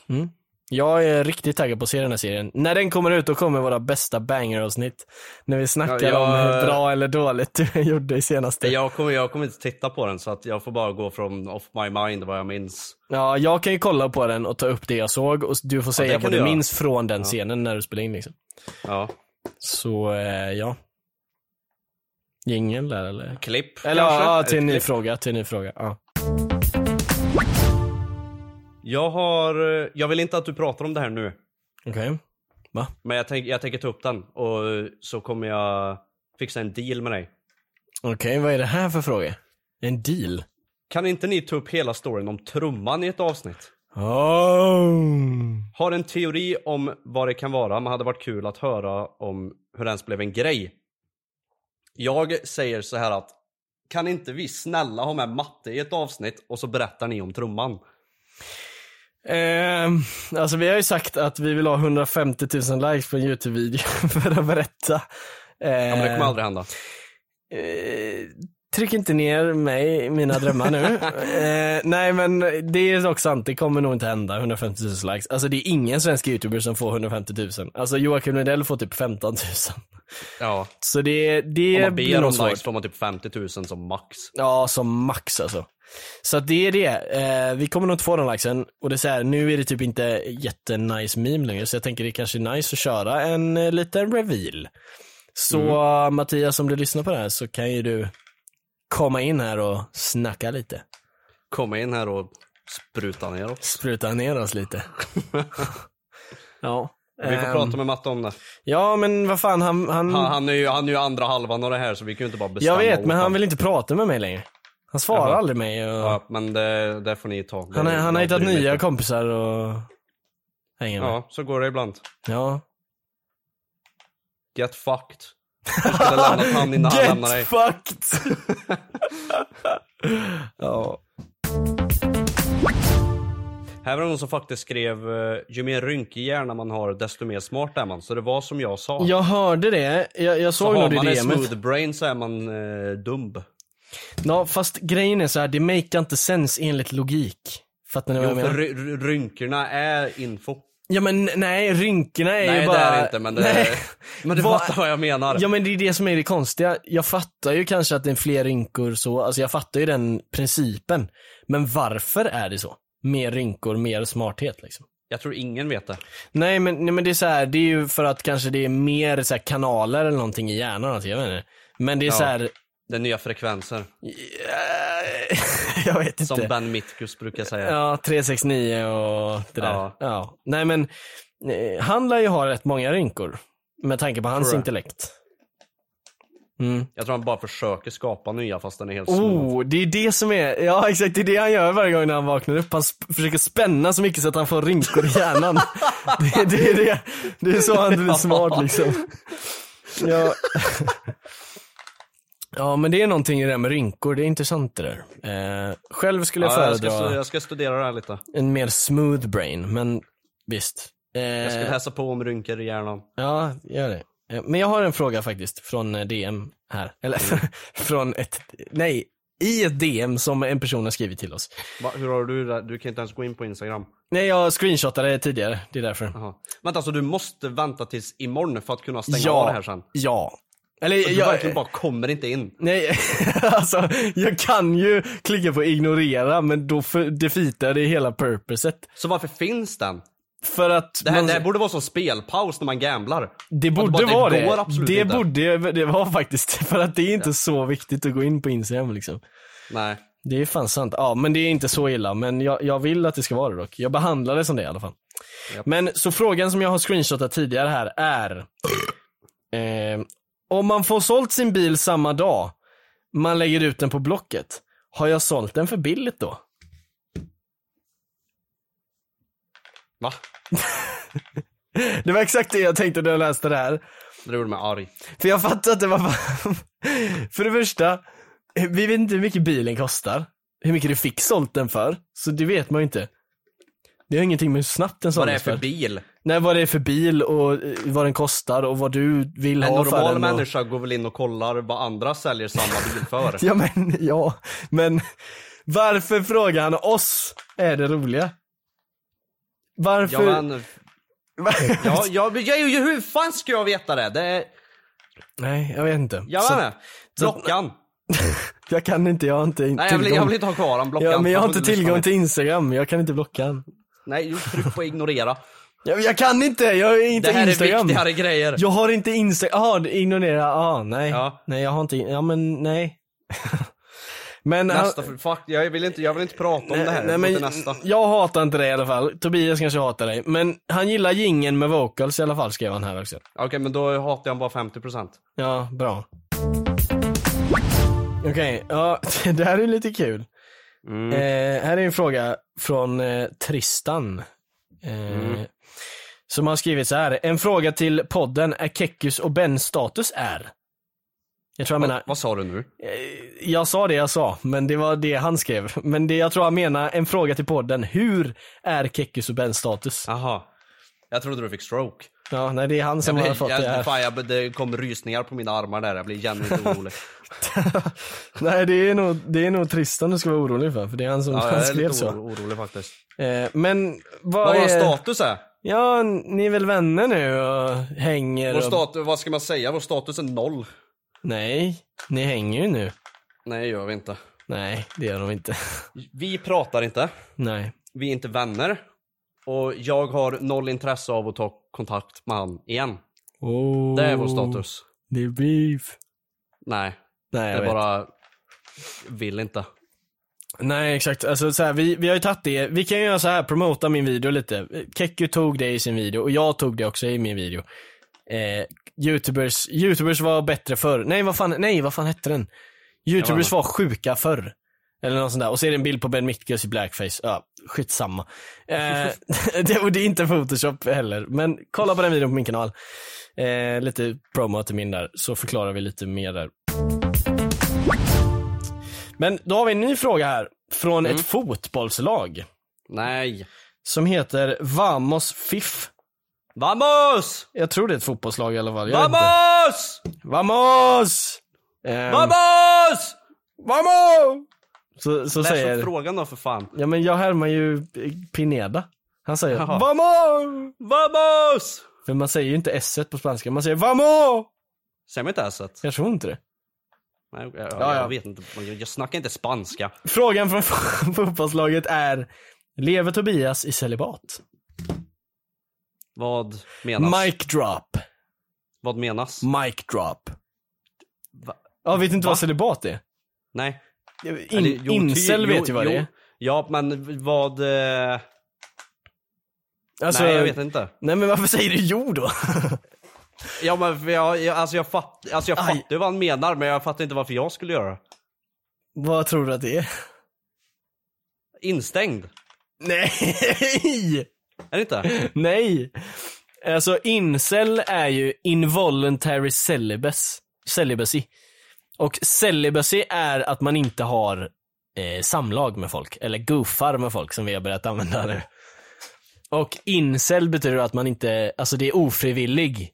Speaker 2: Jag är riktigt taggad på att se den här serien. När den kommer ut då kommer våra bästa banger-avsnitt. När vi snackar
Speaker 1: Ja, jag-
Speaker 2: om hur bra eller dåligt *laughs* du gjorde i senaste.
Speaker 1: Jag kommer, jag kommer inte titta på den så att jag får bara gå från off my mind vad jag minns.
Speaker 2: Ja, jag kan ju kolla på den och ta upp det jag såg och du får säga
Speaker 1: det kan
Speaker 2: vad
Speaker 1: du
Speaker 2: du
Speaker 1: göra.
Speaker 2: minns från den scenen när du spelar in liksom.
Speaker 1: Ja.
Speaker 2: Så, eh, ja. Jingeln där eller?
Speaker 1: Klipp
Speaker 2: Eller
Speaker 1: kanske?
Speaker 2: ja,
Speaker 1: Ett
Speaker 2: till en ny
Speaker 1: klipp.
Speaker 2: fråga, till en ny fråga. Ja.
Speaker 1: Jag har, eh, jag vill inte att du pratar om det här nu.
Speaker 2: Okej.
Speaker 1: Men jag, tänk, jag tänker ta upp den och eh, så kommer jag fixa en deal med dig.
Speaker 2: Okej, vad är det här för fråga? En deal?
Speaker 1: Kan inte ni ta upp hela storyn om trumman i ett avsnitt?
Speaker 2: Oh.
Speaker 1: Har en teori om vad det kan vara, men hade varit kul att höra om hur det ens blev en grej. Jag säger så här att kan inte vi snälla ha med matte i ett avsnitt och så berättar ni om trumman?
Speaker 2: Ehm, alltså vi har ju sagt att vi vill ha 150 000 likes på en YouTube-video *laughs* för att berätta.
Speaker 1: Ja, men det
Speaker 2: Ehm,
Speaker 1: kommer aldrig hända.
Speaker 2: Eh, tryck inte ner mig i mina
Speaker 1: *laughs*
Speaker 2: drömmar nu. eh, nej men det är dock sant, det kommer nog inte hända 150 000 likes. Alltså det är ingen svensk youtuber som får 150 000. Alltså Joakim Lundell får typ 15 000.
Speaker 1: Ja.
Speaker 2: Så det,
Speaker 1: Om
Speaker 2: det
Speaker 1: man
Speaker 2: blir
Speaker 1: ber
Speaker 2: nog
Speaker 1: om
Speaker 2: svårt.
Speaker 1: likes får man typ 50 000 som max.
Speaker 2: Ja, som max alltså. Så att det är det. Eh, vi kommer nog inte få den likesen. Och det är så här, nu är det typ inte jättenice meme längre, så jag tänker det kanske är nice att köra en eh, liten reveal. Så eh, Mattias, om du lyssnar på det här så kan ju du komma in här och snacka lite.
Speaker 1: Komma in här och spruta ner oss.
Speaker 2: Spruta ner oss lite. *laughs* ja.
Speaker 1: Vi får
Speaker 2: Ehm,
Speaker 1: prata med matte om det.
Speaker 2: Ja, men vad fan, han... han,
Speaker 1: Han, han, är ju, han är ju andra halvan av det här så vi kan ju inte bara bestämma
Speaker 2: jag vet,
Speaker 1: åt
Speaker 2: men han
Speaker 1: honom.
Speaker 2: vill inte prata med mig längre. Han svarar
Speaker 1: Jaha.
Speaker 2: aldrig mig. Och...
Speaker 1: Ja, men det, det får ni ta.
Speaker 2: Han, är,
Speaker 1: Det-
Speaker 2: han har
Speaker 1: jag
Speaker 2: hittat
Speaker 1: bryr mig
Speaker 2: nya
Speaker 1: inte.
Speaker 2: kompisar och hänger med. Ja.
Speaker 1: Ja, så går det ibland.
Speaker 2: ja.
Speaker 1: Get
Speaker 2: *laughs*
Speaker 1: fucked. Jag skulle ha lämnat han innan han lämnar dig.
Speaker 2: fucked! ja.
Speaker 1: Här var det någon som faktiskt skrev eh, ju mer rynkig hjärna man har desto mer smart är man. Så det var som jag sa.
Speaker 2: Jag hörde det, jag, jag
Speaker 1: så
Speaker 2: såg
Speaker 1: har
Speaker 2: nog det
Speaker 1: man en
Speaker 2: DMet.
Speaker 1: smooth brain så är man eh, dum.
Speaker 2: Ja, fast grejen är så här, det makear inte sens enligt logik. Fattar ni vad
Speaker 1: Jo,
Speaker 2: jag
Speaker 1: för
Speaker 2: menar?
Speaker 1: ry- ry- rynkorna är info.
Speaker 2: Ja men nej, rynkorna är
Speaker 1: Nej
Speaker 2: ju bara...
Speaker 1: det är det inte men det
Speaker 2: Nej.
Speaker 1: *laughs* Men du
Speaker 2: Vad-
Speaker 1: fattar vad jag menar.
Speaker 2: Ja men det är det som är det konstiga. Jag fattar ju kanske att det är fler rynkor så, alltså jag fattar ju den principen. Men varför är det så? Mer rynkor, mer smarthet liksom.
Speaker 1: Jag tror ingen vet det.
Speaker 2: Nej men, nej men det är så här, det är ju för att kanske det är mer så här kanaler eller någonting i hjärnan, alltså, jag vet inte. Men det
Speaker 1: Ja.
Speaker 2: är så här,
Speaker 1: Det är nya frekvenser.
Speaker 2: eh, *laughs* jag vet inte.
Speaker 1: Som Ben Mitkus brukar säga.
Speaker 2: Ja, 369 och det där. Ja.
Speaker 1: Ja.
Speaker 2: Nej men, eh, han lär ju ha rätt många rynkor. Med tanke på hans
Speaker 1: Tror jag.
Speaker 2: intellekt. Mm.
Speaker 1: Jag tror han bara försöker skapa nya fast den är helt smooth.
Speaker 2: Oh, det är det som är, ja exakt det är det han gör varje gång när han vaknar upp. Han sp- försöker spänna så mycket så att han får rynkor i
Speaker 1: *laughs*
Speaker 2: hjärnan. det, det är det, det är så han blir smart liksom. Ja. *laughs* ja men det är någonting i det där med rynkor, det är intressant det där. Eh, själv skulle jag
Speaker 1: Ja, jag, ska,
Speaker 2: föredra
Speaker 1: stu- jag ska studera det här lite.
Speaker 2: en mer smooth brain, men visst. Eh,
Speaker 1: Jag ska läsa på om rynkor i hjärnan.
Speaker 2: Ja, gör det. Eh, Men jag har en fråga faktiskt från eh, DM här. Eller
Speaker 1: Mm.
Speaker 2: *laughs* från ett, nej, i ett DM som en person har skrivit till oss.
Speaker 1: Va, hur har du det? Du kan inte ens gå in på Instagram.
Speaker 2: Nej, jag screenshotade det tidigare, det är därför.
Speaker 1: Aha. Vänta, så du måste vänta tills imorgon för att kunna stänga av det här sen?
Speaker 2: Ja,
Speaker 1: Och
Speaker 2: ja. Eller
Speaker 1: Du
Speaker 2: jag,
Speaker 1: verkligen bara kommer inte in.
Speaker 2: nej, *laughs* alltså jag kan ju klicka på ignorera men då för- defeatar det hela purposet.
Speaker 1: Så varför finns den?
Speaker 2: För att
Speaker 1: Det här,
Speaker 2: man-
Speaker 1: det här borde vara som spelpaus när man gamblar.
Speaker 2: Det
Speaker 1: Att
Speaker 2: borde
Speaker 1: bara,
Speaker 2: vara
Speaker 1: det. går
Speaker 2: det.
Speaker 1: absolut
Speaker 2: Det
Speaker 1: inte.
Speaker 2: *laughs* borde det var faktiskt, för att det är inte så viktigt att gå in på Instagram liksom.
Speaker 1: Nej.
Speaker 2: Det är fan sant. Ja, men det är inte så illa. Men jag, jag vill att det ska vara det dock. Jag behandlar det som det i alla fall. Men så frågan som jag har screenshotat tidigare här är. eh, om man får sålt sin bil samma dag, man lägger ut den på Blocket. Har jag sålt den för billigt då?
Speaker 1: Va?
Speaker 2: Det var exakt det jag tänkte när jag läste det här.
Speaker 1: Det gjorde mig arg.
Speaker 2: För jag fattar att det var *laughs* För det första, vi vet inte hur mycket bilen kostar. Hur mycket du fick sålt den för. Så det vet man ju inte. Det har ingenting med hur snabbt den
Speaker 1: Vad det är
Speaker 2: såldes
Speaker 1: för bil?
Speaker 2: Nej, vad det är för bil och eh, vad den kostar och vad du vill
Speaker 1: En
Speaker 2: ha för den.
Speaker 1: normal
Speaker 2: och-
Speaker 1: människa går väl in och kollar vad andra säljer samma bil för?
Speaker 2: *laughs* Ja men, ja. Men varför frågar han oss? Är det roliga.
Speaker 1: Ja,
Speaker 2: Varför?
Speaker 1: men, ja, ja, men jag, jag, hur fan ska jag veta det? det är,
Speaker 2: Nej, jag vet inte.
Speaker 1: jag
Speaker 2: Så-
Speaker 1: vet inte. Blockan.
Speaker 2: jag kan inte, jag har inte
Speaker 1: Nej, jag
Speaker 2: tillgång.
Speaker 1: vill, jag vill inte ha kvar den. Blockan.
Speaker 2: ja, men jag har inte
Speaker 1: Lyssna
Speaker 2: tillgång
Speaker 1: mig.
Speaker 2: till Instagram, jag kan inte blocka han.
Speaker 1: Nej, just tryck på ignorera.
Speaker 2: Jag, jag kan inte, jag har *laughs* inte
Speaker 1: Det här är
Speaker 2: Instagram.
Speaker 1: viktigare grejer.
Speaker 2: Jag har inte Instagram, jaha, det- ignorera, ah, nej.
Speaker 1: Ja.
Speaker 2: Nej, jag har inte, ja men nej. *laughs* men han-
Speaker 1: Nästa, för- fuck, jag vill inte, jag vill inte prata om det här. Nej,
Speaker 2: Eh, men
Speaker 1: nästa.
Speaker 2: Jag hatar inte dig i alla fall. Tobias kanske hatar dig. Men han gillar gingen med vocals i alla fall, skrev han här också.
Speaker 1: Okej, men då hatar jag bara 50%.
Speaker 2: Ja, bra. Okej, ja, *laughs* det här är lite kul.
Speaker 1: Mm.
Speaker 2: Eh, här är en fråga från eh, Tristan. Eh,
Speaker 1: Mm.
Speaker 2: Som har skrivit så här. En fråga till podden är Kekkus och Ben status är? Jag tror jag menar,
Speaker 1: Vad, vad sa du nu?
Speaker 2: jag sa det jag sa, men det var det han skrev. Men det jag tror han menar, en fråga till podden. Hur är Kekkus och Ben status?
Speaker 1: Jaha. Jag trodde du fick stroke.
Speaker 2: Ja, nej det är han
Speaker 1: Jag
Speaker 2: som har
Speaker 1: blir,
Speaker 2: fått det
Speaker 1: jag,
Speaker 2: här.
Speaker 1: fan, jag, det kom rysningar på mina armar där, jag blir jävligt orolig.
Speaker 2: *laughs* Nej det är nog, det är nog Tristan du ska vara orolig för, för det är han som
Speaker 1: Ja,
Speaker 2: han
Speaker 1: jag är
Speaker 2: skrev
Speaker 1: lite
Speaker 2: så.
Speaker 1: oro, orolig faktiskt.
Speaker 2: Eh, men vad,
Speaker 1: Vad vår
Speaker 2: är...
Speaker 1: status är?
Speaker 2: Ja, ni är väl vänner nu och hänger
Speaker 1: Vår
Speaker 2: och...
Speaker 1: status, vad ska man säga? Vår status är noll.
Speaker 2: Nej, ni hänger ju nu.
Speaker 1: Nej, det gör vi inte.
Speaker 2: Nej, det gör de inte. *laughs*
Speaker 1: Vi pratar inte.
Speaker 2: Nej.
Speaker 1: Vi är inte vänner. Och jag har noll intresse av att ta kontakt med han igen.
Speaker 2: Oh,
Speaker 1: Det är vår status.
Speaker 2: Det är beef.
Speaker 1: Nej,
Speaker 2: Nej, jag
Speaker 1: jag
Speaker 2: vet.
Speaker 1: bara vill inte.
Speaker 2: Nej exakt, alltså så här, vi, vi har ju tagit det, vi kan ju göra så här, promota min video lite. Kekku tog det i sin video och jag tog det också i min video. Eh, Youtubers, Youtubers var bättre förr. Nej vad fan, nej vad fan hette den? Youtubers var sjuka förr. Eller något sånt där. Och så är det en bild på Ben Mitkus i blackface. Ja, skitsamma. Eh, *laughs* det, och det är inte photoshop heller. Men kolla på den videon på min kanal. Eh, lite promo till min där, så förklarar vi lite mer där. Men då har vi en ny fråga här. Från ett fotbollslag.
Speaker 1: Nej.
Speaker 2: Som heter Vamos Fiff.
Speaker 1: Vamos!
Speaker 2: Jag tror det är ett fotbollslag i alla fall. Jag vet inte.
Speaker 1: Vamos!
Speaker 2: Vamos! Ehm,
Speaker 1: Vamos!
Speaker 2: Vamos! Så, så
Speaker 1: Läs upp
Speaker 2: säger...
Speaker 1: frågan då för fan.
Speaker 2: Ja men jag härmar ju eh, Pineda. Han säger
Speaker 1: Jaha.
Speaker 2: Vamos!
Speaker 1: Vamos!
Speaker 2: För man säger ju inte s på spanska, man säger Vamos!
Speaker 1: Säger man inte esset?
Speaker 2: Jag tror inte det.
Speaker 1: Nej, jag, jag,
Speaker 2: Ja, ja.
Speaker 1: jag vet inte. Jag, jag snackar inte spanska.
Speaker 2: Frågan från *laughs* fotbollslaget är Lever Tobias i celibat?
Speaker 1: Vad menas?
Speaker 2: Mic drop.
Speaker 1: Vad menas?
Speaker 2: Mic drop.
Speaker 1: Va?
Speaker 2: Ja, vet inte
Speaker 1: Va?
Speaker 2: vad celibat är?
Speaker 1: Nej.
Speaker 2: In,
Speaker 1: Eller, jo,
Speaker 2: incel
Speaker 1: ty-
Speaker 2: vet ju vad
Speaker 1: jo,
Speaker 2: det är.
Speaker 1: Ja, men vad... Eh,
Speaker 2: Alltså,
Speaker 1: nej, jag vet inte.
Speaker 2: Nej men varför säger du jo då? *laughs*
Speaker 1: Ja, men för jag, jag, alltså jag, fatt, alltså jag
Speaker 2: Aj.
Speaker 1: fattar ju vad han menar, men jag fattar inte varför jag skulle göra det.
Speaker 2: vad tror du att det är?
Speaker 1: Instängd.
Speaker 2: Nej! *laughs*
Speaker 1: Är det inte?
Speaker 2: Nej! Alltså incel är ju involuntary celibes, celibacy. Och celibacy är att man inte har eh, samlag med folk, eller goofar med folk som vi har börjat använda nu. Och incel betyder att man inte, alltså det är ofrivillig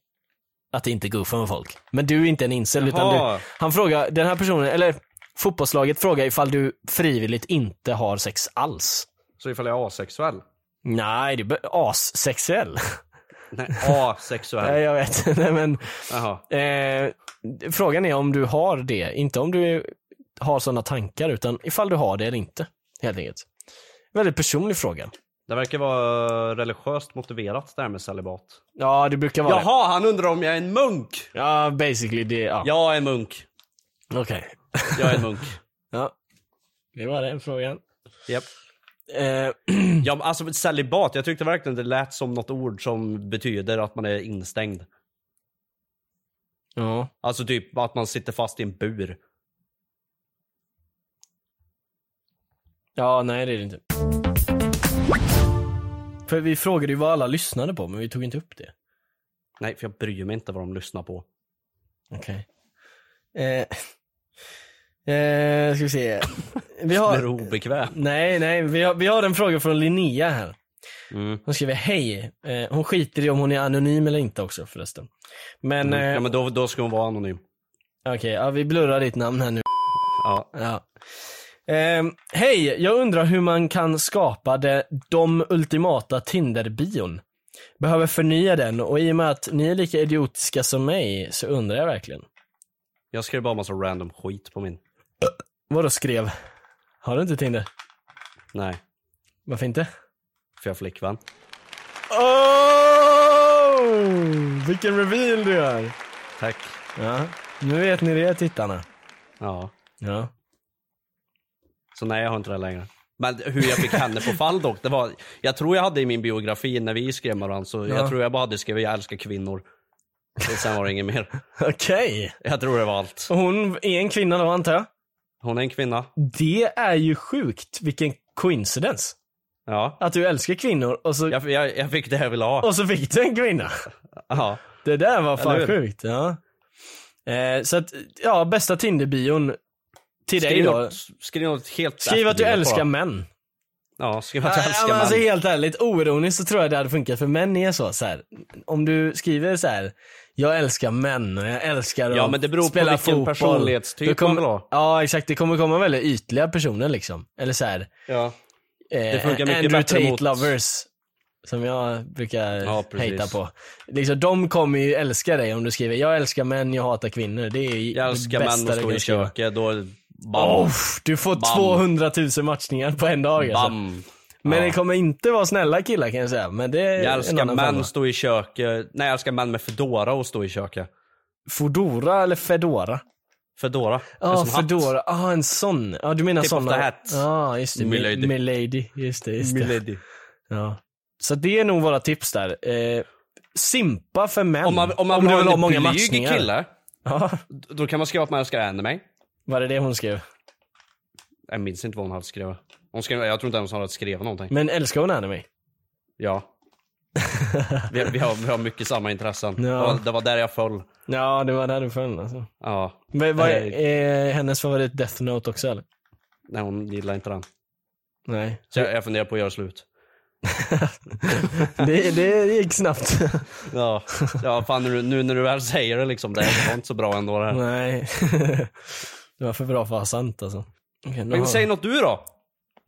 Speaker 2: att inte goofa med folk. Men du är inte en incel utan
Speaker 1: Jaha.
Speaker 2: du, han frågar, den här personen, eller fotbollslaget frågar ifall du frivilligt inte har sex alls.
Speaker 1: Så ifall jag är asexuell?
Speaker 2: Nej, du är *laughs* assexuell.
Speaker 1: Nej, asexuell.
Speaker 2: Nej, jag vet. *laughs* Nej, men,
Speaker 1: Jaha.
Speaker 2: eh, frågan är om du har det. Inte om du har sådana tankar, utan ifall du har det eller inte. Helt enkelt. Väldigt personlig fråga.
Speaker 1: Det verkar vara religiöst motiverat det här med celibat.
Speaker 2: Ja, det brukar vara det.
Speaker 1: Jaha, han undrar om jag är en munk!
Speaker 2: Ja, basically det. Ja.
Speaker 1: Jag är munk.
Speaker 2: Okej.
Speaker 1: Jag är en munk.
Speaker 2: Ja. Det var den frågan.
Speaker 1: *laughs* Japp.
Speaker 2: Eh,
Speaker 1: Ja, men alltså celibat, jag tyckte verkligen det lät som något ord som betyder att man är instängd.
Speaker 2: ja.
Speaker 1: Alltså typ att man sitter fast i en bur.
Speaker 2: ja, nej det är det inte. För vi frågade ju vad alla lyssnade på, men vi tog inte upp det.
Speaker 1: Nej, för jag bryr mig inte vad de lyssnar på.
Speaker 2: Okej. Eh, eh, ska vi se. Vi
Speaker 1: Det är
Speaker 2: har,
Speaker 1: obekvämt.
Speaker 2: nej, nej, vi har, vi har en fråga från Linnea här.
Speaker 1: Mm.
Speaker 2: Hon skriver hej. Eh, hon skiter i om hon är anonym eller inte också förresten. Men,
Speaker 1: Mm, Ja,
Speaker 2: eh,
Speaker 1: men då, då ska hon vara anonym.
Speaker 2: okej, ja, vi blurrar ditt namn här nu.
Speaker 1: Ja.
Speaker 2: Ja. Ehm, Hej, jag undrar hur man kan skapa de, de ultimata Tinder-bion. Behöver förnya den och i och med att ni är lika idiotiska som mig så undrar jag verkligen.
Speaker 1: Jag skrev bara massa random skit på min.
Speaker 2: Vadå skrev? Har du inte Tinder?
Speaker 1: Nej,
Speaker 2: Varför inte?
Speaker 1: för jag har flickvän.
Speaker 2: Oh! Vilken reveal du gör!
Speaker 1: Tack.
Speaker 2: Ja, nu vet ni det tittarna.
Speaker 1: Ja.
Speaker 2: Ja.
Speaker 1: Så nej, jag har inte det längre. Men hur jag fick henne på fall dock, det var... Jag tror jag hade i min biografi när vi skrev med varandra, så
Speaker 2: Ja.
Speaker 1: jag tror jag bara hade skrivit jag älskar kvinnor. Och sen var det inget mer.
Speaker 2: Okej.
Speaker 1: Jag tror det var allt.
Speaker 2: Hon är en kvinna då antar jag?
Speaker 1: Hon är en kvinna.
Speaker 2: Det är ju sjukt. Vilken coincidence.
Speaker 1: Ja.
Speaker 2: Att du älskar kvinnor och så
Speaker 1: Jag, jag, jag fick det jag ville ha.
Speaker 2: Och så fick du en kvinna.
Speaker 1: Ja.
Speaker 2: Det där var fan
Speaker 1: Eller hur?
Speaker 2: sjukt. Ja. Eh, så att, ja, bästa Tinder-bion till dig
Speaker 1: Skriv,
Speaker 2: då.
Speaker 1: något, skriv något helt
Speaker 2: Skriv att du
Speaker 1: efterblivet
Speaker 2: älskar
Speaker 1: bara.
Speaker 2: män.
Speaker 1: Ja, skriv att du
Speaker 2: Ja,
Speaker 1: älskar
Speaker 2: men
Speaker 1: män.
Speaker 2: alltså helt ärligt, oironiskt så tror jag det hade funkat för män är så, så här. Om du skriver så här. jag älskar män och jag älskar
Speaker 1: Ja,
Speaker 2: att
Speaker 1: men det beror på
Speaker 2: spela
Speaker 1: vilken
Speaker 2: fotboll.
Speaker 1: personlighetstyp
Speaker 2: Då kommer-
Speaker 1: man vill ha.
Speaker 2: Ja exakt, det kommer komma väldigt ytliga personer liksom. Eller så här,
Speaker 1: Ja.
Speaker 2: eh,
Speaker 1: Det funkar mycket
Speaker 2: Andrew
Speaker 1: bättre
Speaker 2: Tate
Speaker 1: mot-
Speaker 2: lovers. Som jag brukar
Speaker 1: Ja, precis.
Speaker 2: hejta på. Liksom, de kommer ju älska dig om du skriver jag älskar män, jag hatar kvinnor. Det är ju
Speaker 1: Jag
Speaker 2: det
Speaker 1: älskar
Speaker 2: bästa
Speaker 1: män och
Speaker 2: du
Speaker 1: står
Speaker 2: kan
Speaker 1: i
Speaker 2: skriva.
Speaker 1: köket. Då... Bam.
Speaker 2: Oh, du får 200 000 matchningar på en dag alltså.
Speaker 1: bam.
Speaker 2: Men
Speaker 1: Ja.
Speaker 2: det kommer inte vara snälla killar kan jag säga. Men det är
Speaker 1: Jag
Speaker 2: en
Speaker 1: älskar
Speaker 2: annan femma.
Speaker 1: män stå i köket. Nej, jag älskar män med fedora och stå i köket.
Speaker 2: Fodora eller Fedora?
Speaker 1: Fedora.
Speaker 2: Ja,
Speaker 1: En sån hatt.
Speaker 2: Fedora. Ja, ah, en sån. Ja, du menar
Speaker 1: Tip
Speaker 2: såna.
Speaker 1: of the hat.
Speaker 2: Ja, just det.
Speaker 1: Milady.
Speaker 2: Milady. Milady. Just det, just det.
Speaker 1: Milady.
Speaker 2: Ja. Så det är nog våra tips där. Eh, simpa för män.
Speaker 1: Om man, om man vill
Speaker 2: du
Speaker 1: ha en
Speaker 2: många
Speaker 1: blyg
Speaker 2: matchningar.
Speaker 1: kille,
Speaker 2: Ja,
Speaker 1: då kan man skriva att man älskar anime.
Speaker 2: var det det hon skrev?
Speaker 1: Jag minns inte vad hon hade skrivit. Hon skrev, jag tror inte ens hon hade skrivit någonting.
Speaker 2: Men älskar hon anime? *laughs*
Speaker 1: Ja. vi, vi, har, vi har mycket samma intressen.
Speaker 2: Ja.
Speaker 1: Det, var, det var där jag föll.
Speaker 2: Ja, det var där du föll alltså.
Speaker 1: Ja.
Speaker 2: Men vad är,
Speaker 1: Nej.
Speaker 2: är hennes favorit Death Note också eller?
Speaker 1: Nej, hon gillar inte den.
Speaker 2: Nej.
Speaker 1: Så jag, jag funderar på att göra slut. *laughs*
Speaker 2: Det, det gick snabbt.
Speaker 1: Ja, ja fan nu, nu när du väl säger det liksom. Det här var inte så bra ändå det här.
Speaker 2: Nej. *laughs* det var för bra för att vara sant alltså. Okej, nu
Speaker 1: Men
Speaker 2: har-
Speaker 1: säg något du då.
Speaker 2: Va-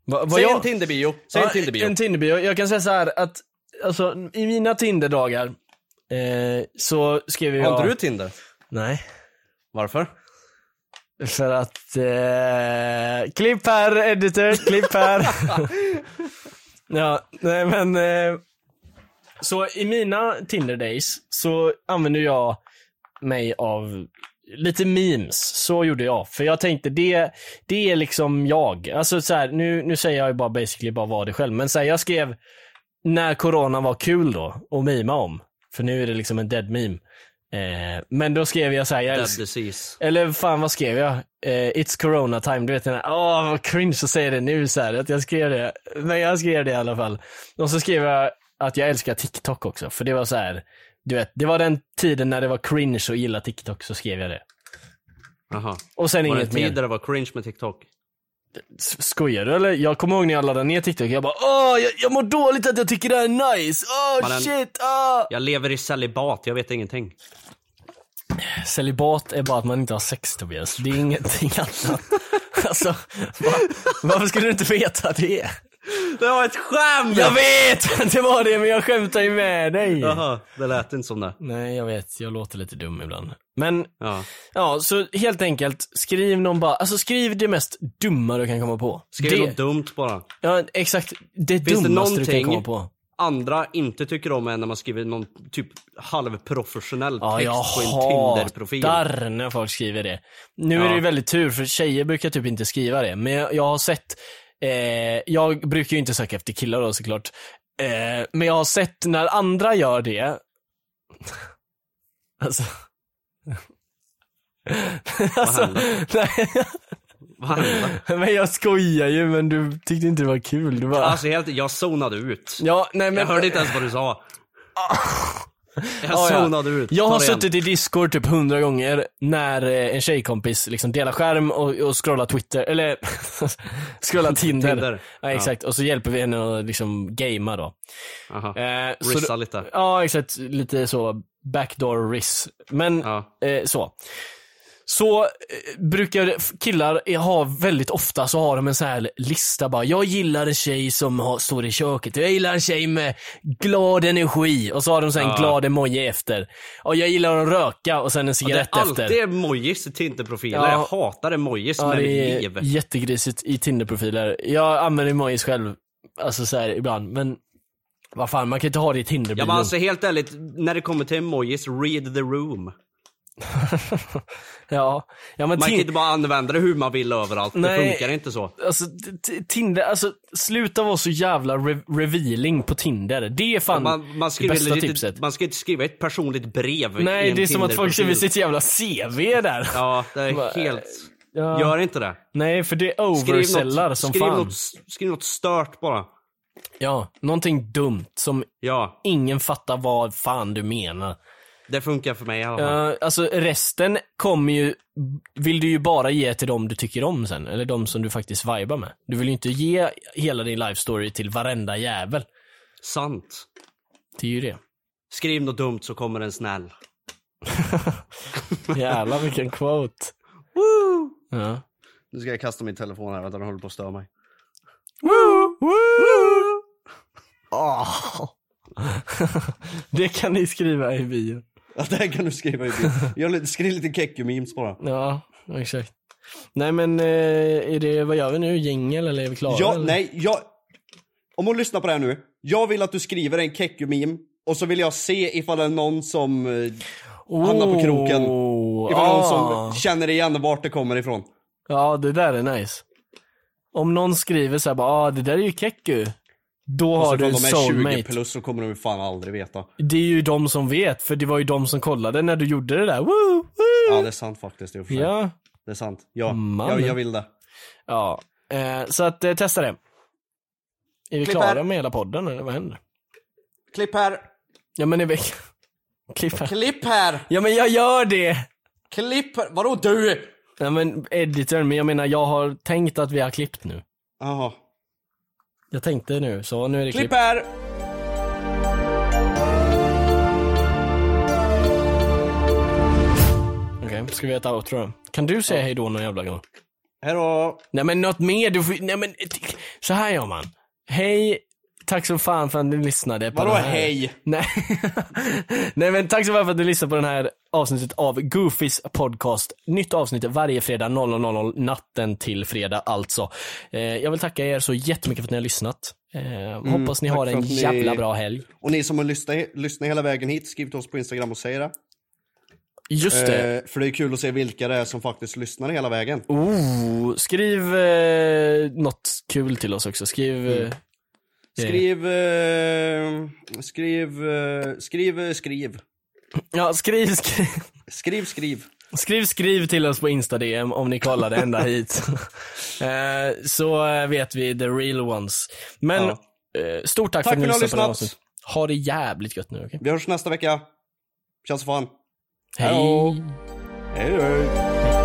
Speaker 2: vad
Speaker 1: Säg
Speaker 2: jag-
Speaker 1: en Tinderbio. Säg en
Speaker 2: Ja,
Speaker 1: Tinderbio.
Speaker 2: En Tinderbio. Jag kan säga så här att, alltså i mina Tinderdagar, eh, så skrev jag...
Speaker 1: Har inte du Tinder?
Speaker 2: Nej.
Speaker 1: Varför?
Speaker 2: För att... Eh, klipp här, editor, klipp här. *laughs* ja, nej men... Eh, så i mina Tinder days så använder jag mig av lite memes. Så gjorde jag. För jag tänkte det, det är liksom jag. Alltså så här, nu, nu säger jag ju bara basically bara vad det själv. Men så här, jag skrev när corona var kul då och mima om. För nu är det liksom en dead meme. Eh, men då skrev jag så här, jag
Speaker 1: Dead
Speaker 2: älskar...
Speaker 1: disease.
Speaker 2: Eller fan vad skrev jag? Eh, It's corona time, du vet den här, åh vad cringe att säga det nu så här, att jag skrev det. Men jag skrev det i alla fall. Och så skrev jag att jag älskar TikTok också, för det var så här, du vet, det var den tiden när det var cringe att gilla TikTok, så skrev jag det.
Speaker 1: Aha.
Speaker 2: Och sen
Speaker 1: Var det en
Speaker 2: inget
Speaker 1: tid
Speaker 2: mer.
Speaker 1: där det var cringe med TikTok?
Speaker 2: S- Skojar du eller? Jag kommer ihåg när jag laddade ner TikTok, jag bara åh, jag, jag mår dåligt att jag tycker det här är nice, åh
Speaker 1: Mannen-
Speaker 2: shit, ah." åh.
Speaker 1: Jag lever i celibat, jag vet ingenting.
Speaker 2: Celibat är bara att man inte har sex Tobias, det är ingenting *laughs* annat. alltså, va, varför skulle du inte veta det?
Speaker 1: Det var ett skämt!
Speaker 2: Jag vet att *laughs* det var det, men jag skämtar ju med dig.
Speaker 1: Jaha, det lät inte som det.
Speaker 2: Nej, jag vet. Jag låter lite dum ibland. Men,
Speaker 1: Ja.
Speaker 2: ja, så helt enkelt, skriv någon bara, alltså skriv det mest dumma du kan komma på.
Speaker 1: Skriv
Speaker 2: det,
Speaker 1: något dumt bara.
Speaker 2: Ja, exakt. Det
Speaker 1: Finns det
Speaker 2: dummaste du kan
Speaker 1: någonting-
Speaker 2: komma på.
Speaker 1: andra inte tycker om är när man skriver någon typ halvprofessionell
Speaker 2: Ja,
Speaker 1: text
Speaker 2: jag
Speaker 1: på en Tinder-profil.
Speaker 2: hatar när folk skriver det. Nu är
Speaker 1: Ja.
Speaker 2: det ju väldigt tur, för tjejer brukar typ inte skriva det. Men jag, jag har sett, eh, jag brukar ju inte söka efter killar då såklart. Eh, men jag har sett när andra gör det. *laughs* alltså. *laughs* alltså, nej,
Speaker 1: Vad handlar det?
Speaker 2: *laughs* men jag skojar ju men du tyckte inte det var kul. Du bara,
Speaker 1: Alltså helt, jag zonade ut.
Speaker 2: ja, nej, men,
Speaker 1: Jag hörde inte ens vad du sa. Jag
Speaker 2: Ah. Ja, ja.
Speaker 1: zonade ut.
Speaker 2: Jag
Speaker 1: Ta
Speaker 2: har
Speaker 1: det igen.
Speaker 2: suttit i Discord typ hundra gånger när eh, en tjejkompis liksom delar skärm och, och scrollar Twitter, eller *laughs* scrollar Tinder.
Speaker 1: Tinder.
Speaker 2: Ja, exakt. Och så hjälper vi henne att liksom gamea då.
Speaker 1: Aha.
Speaker 2: Eh, så
Speaker 1: Rissa
Speaker 2: då-
Speaker 1: lite.
Speaker 2: Ja, exakt. Lite så backdoor riss. Men
Speaker 1: Ja.
Speaker 2: eh, så. Så eh, brukar det- killar ha väldigt ofta så har de en så här lista bara. Jag gillar en tjej som har, står i köket. Jag gillar en tjej med glad energi. Och så har de sen en glad emoji efter. Och jag gillar att röka och sen en
Speaker 1: Det är
Speaker 2: cigarett efter.
Speaker 1: alltid emojis i Tinder-profiler.
Speaker 2: Ja.
Speaker 1: Jag hatar emojis
Speaker 2: Ja,
Speaker 1: med
Speaker 2: det
Speaker 1: mitt
Speaker 2: är
Speaker 1: liv.
Speaker 2: jättegrisigt i Tinder-profiler. Jag använder emojis själv. Alltså så här ibland. Men vad fan, man kan inte ha det i tinder
Speaker 1: Ja men alltså helt ärligt, när det kommer till emojis, read the room.
Speaker 2: ja. ja, men
Speaker 1: Man kan
Speaker 2: Tin-
Speaker 1: inte bara använda det hur man vill överallt, det
Speaker 2: Nej.
Speaker 1: funkar inte så.
Speaker 2: Alltså, t- t- Tinder, alltså sluta vara så jävla re- revealing på Tinder. Det är fan
Speaker 1: Man, man,
Speaker 2: det
Speaker 1: skriver
Speaker 2: bästa
Speaker 1: lite-
Speaker 2: tipset.
Speaker 1: man ska inte skriva ett personligt brev i
Speaker 2: Nej,
Speaker 1: en
Speaker 2: det är som att folk skriver
Speaker 1: Tinder-profil.
Speaker 2: sitt jävla CV där.
Speaker 1: Ja, det
Speaker 2: Bara,
Speaker 1: är helt...
Speaker 2: ja.
Speaker 1: Gör inte det.
Speaker 2: *laughs* Nej, för det
Speaker 1: Skriv
Speaker 2: oversellar
Speaker 1: något,
Speaker 2: som
Speaker 1: skriv,
Speaker 2: fan.
Speaker 1: något, skriv något stört bara.
Speaker 2: Ja, någonting dumt som
Speaker 1: Ja,
Speaker 2: ingen fattar vad fan du menar.
Speaker 1: det funkar för mig i alla fall.
Speaker 2: Ja, alltså resten kommer ju, vill du ju bara ge till dem du tycker om sen, eller de som du faktiskt vibar med. Du vill ju inte ge hela din life story till varenda jävel.
Speaker 1: Sant.
Speaker 2: Det är ju det.
Speaker 1: Skriv något dumt så kommer en snäll.
Speaker 2: Jävlar vilken quote. Woo! Ja.
Speaker 1: Nu ska jag kasta min telefon här, vänta den håller på att störa mig. *laughs*
Speaker 2: Woo! Woo! Åh. *laughs* det kan ni skriva i bio.
Speaker 1: Ja, det här kan du skriva i bild. Skriv lite Kekku-memes bara.
Speaker 2: Ja, exakt. Nej men, eh, är det, vad gör vi nu? Jingel eller är vi klara?
Speaker 1: Ja,
Speaker 2: eller?
Speaker 1: nej, jag... Om hon lyssnar på det här nu. Jag vill att du skriver en Kekku-meme och så vill jag se ifall det är någon som eh, hamnar på kroken.
Speaker 2: Oh,
Speaker 1: Ifall någon
Speaker 2: ah.
Speaker 1: som känner igen vart det kommer ifrån.
Speaker 2: Ja, det där är nice. Om någon skriver såhär bara, ah, det där är ju Kekku. Då
Speaker 1: Och
Speaker 2: har
Speaker 1: så från
Speaker 2: du en
Speaker 1: de är 20
Speaker 2: soulmate.
Speaker 1: plus så kommer de fan aldrig veta.
Speaker 2: Det är ju de som vet, för det var ju de som kollade när du gjorde det där. Woo, woo.
Speaker 1: Ja det är sant faktiskt. i och för sig.
Speaker 2: Ja.
Speaker 1: Det är sant. Ja,
Speaker 2: Man.
Speaker 1: jag, jag vill det.
Speaker 2: Ja, eh, så att eh, testa det. Är vi
Speaker 1: Klipp här.
Speaker 2: klara med hela podden eller vad händer?
Speaker 1: Klipp här.
Speaker 2: Ja men är vi... *laughs* Klipp här.
Speaker 1: Klipp här.
Speaker 2: Ja men jag gör det!
Speaker 1: Klipp här. Vadå du?
Speaker 2: Ja men editorn, men jag menar jag har tänkt att vi har klippt nu.
Speaker 1: Jaha.
Speaker 2: Jag tänkte nu, så nu är det
Speaker 1: Klipp
Speaker 2: klipp.
Speaker 1: här.
Speaker 2: Okej, ska vi göra ett outro då? Kan du säga hejdå någon jävla gång?
Speaker 1: Hejdå.
Speaker 2: Nej men något mer, du får, nej men, så här gör man. Hej, tack så fan för att ni lyssnade på
Speaker 1: Vadå
Speaker 2: den här.
Speaker 1: hej?
Speaker 2: Nej. *laughs* nej men tack så fan för att ni lyssnade på den här avsnittet av Goofys podcast. Nytt avsnitt varje fredag 00.00 natten till fredag alltså. Eh, jag vill tacka er så jättemycket för att ni har lyssnat. Eh, hoppas ni har
Speaker 1: Mm, tack för
Speaker 2: en
Speaker 1: att ni-
Speaker 2: jävla bra helg.
Speaker 1: Och ni som har lyssnat, lyssnat hela vägen hit, skriv till oss på Instagram och säg det.
Speaker 2: Just det.
Speaker 1: Eh, för det är kul att se vilka det är som faktiskt lyssnar hela vägen.
Speaker 2: Oh, skriv eh, något kul till oss också. Skriv...
Speaker 1: Mm.
Speaker 2: eh,
Speaker 1: Skriv, eh, skriv, eh, skriv, eh, skriv.
Speaker 2: Ja, skriv, *laughs* skriv.
Speaker 1: Skriv, skriv.
Speaker 2: Skriv skriv till oss på Insta-DM om ni kollade *laughs* ända hit. Eh, så eh, vet vi the real ones. Men eh, stort tack,
Speaker 1: Tack
Speaker 2: för att
Speaker 1: för
Speaker 2: ni
Speaker 1: att ni har
Speaker 2: lyssnade på det
Speaker 1: lyssnat.
Speaker 2: här avsnittet. Ha det jävligt gött nu, okej?
Speaker 1: Vi hörs nästa vecka. Känns fan.
Speaker 2: Hej!
Speaker 1: Hej, hej.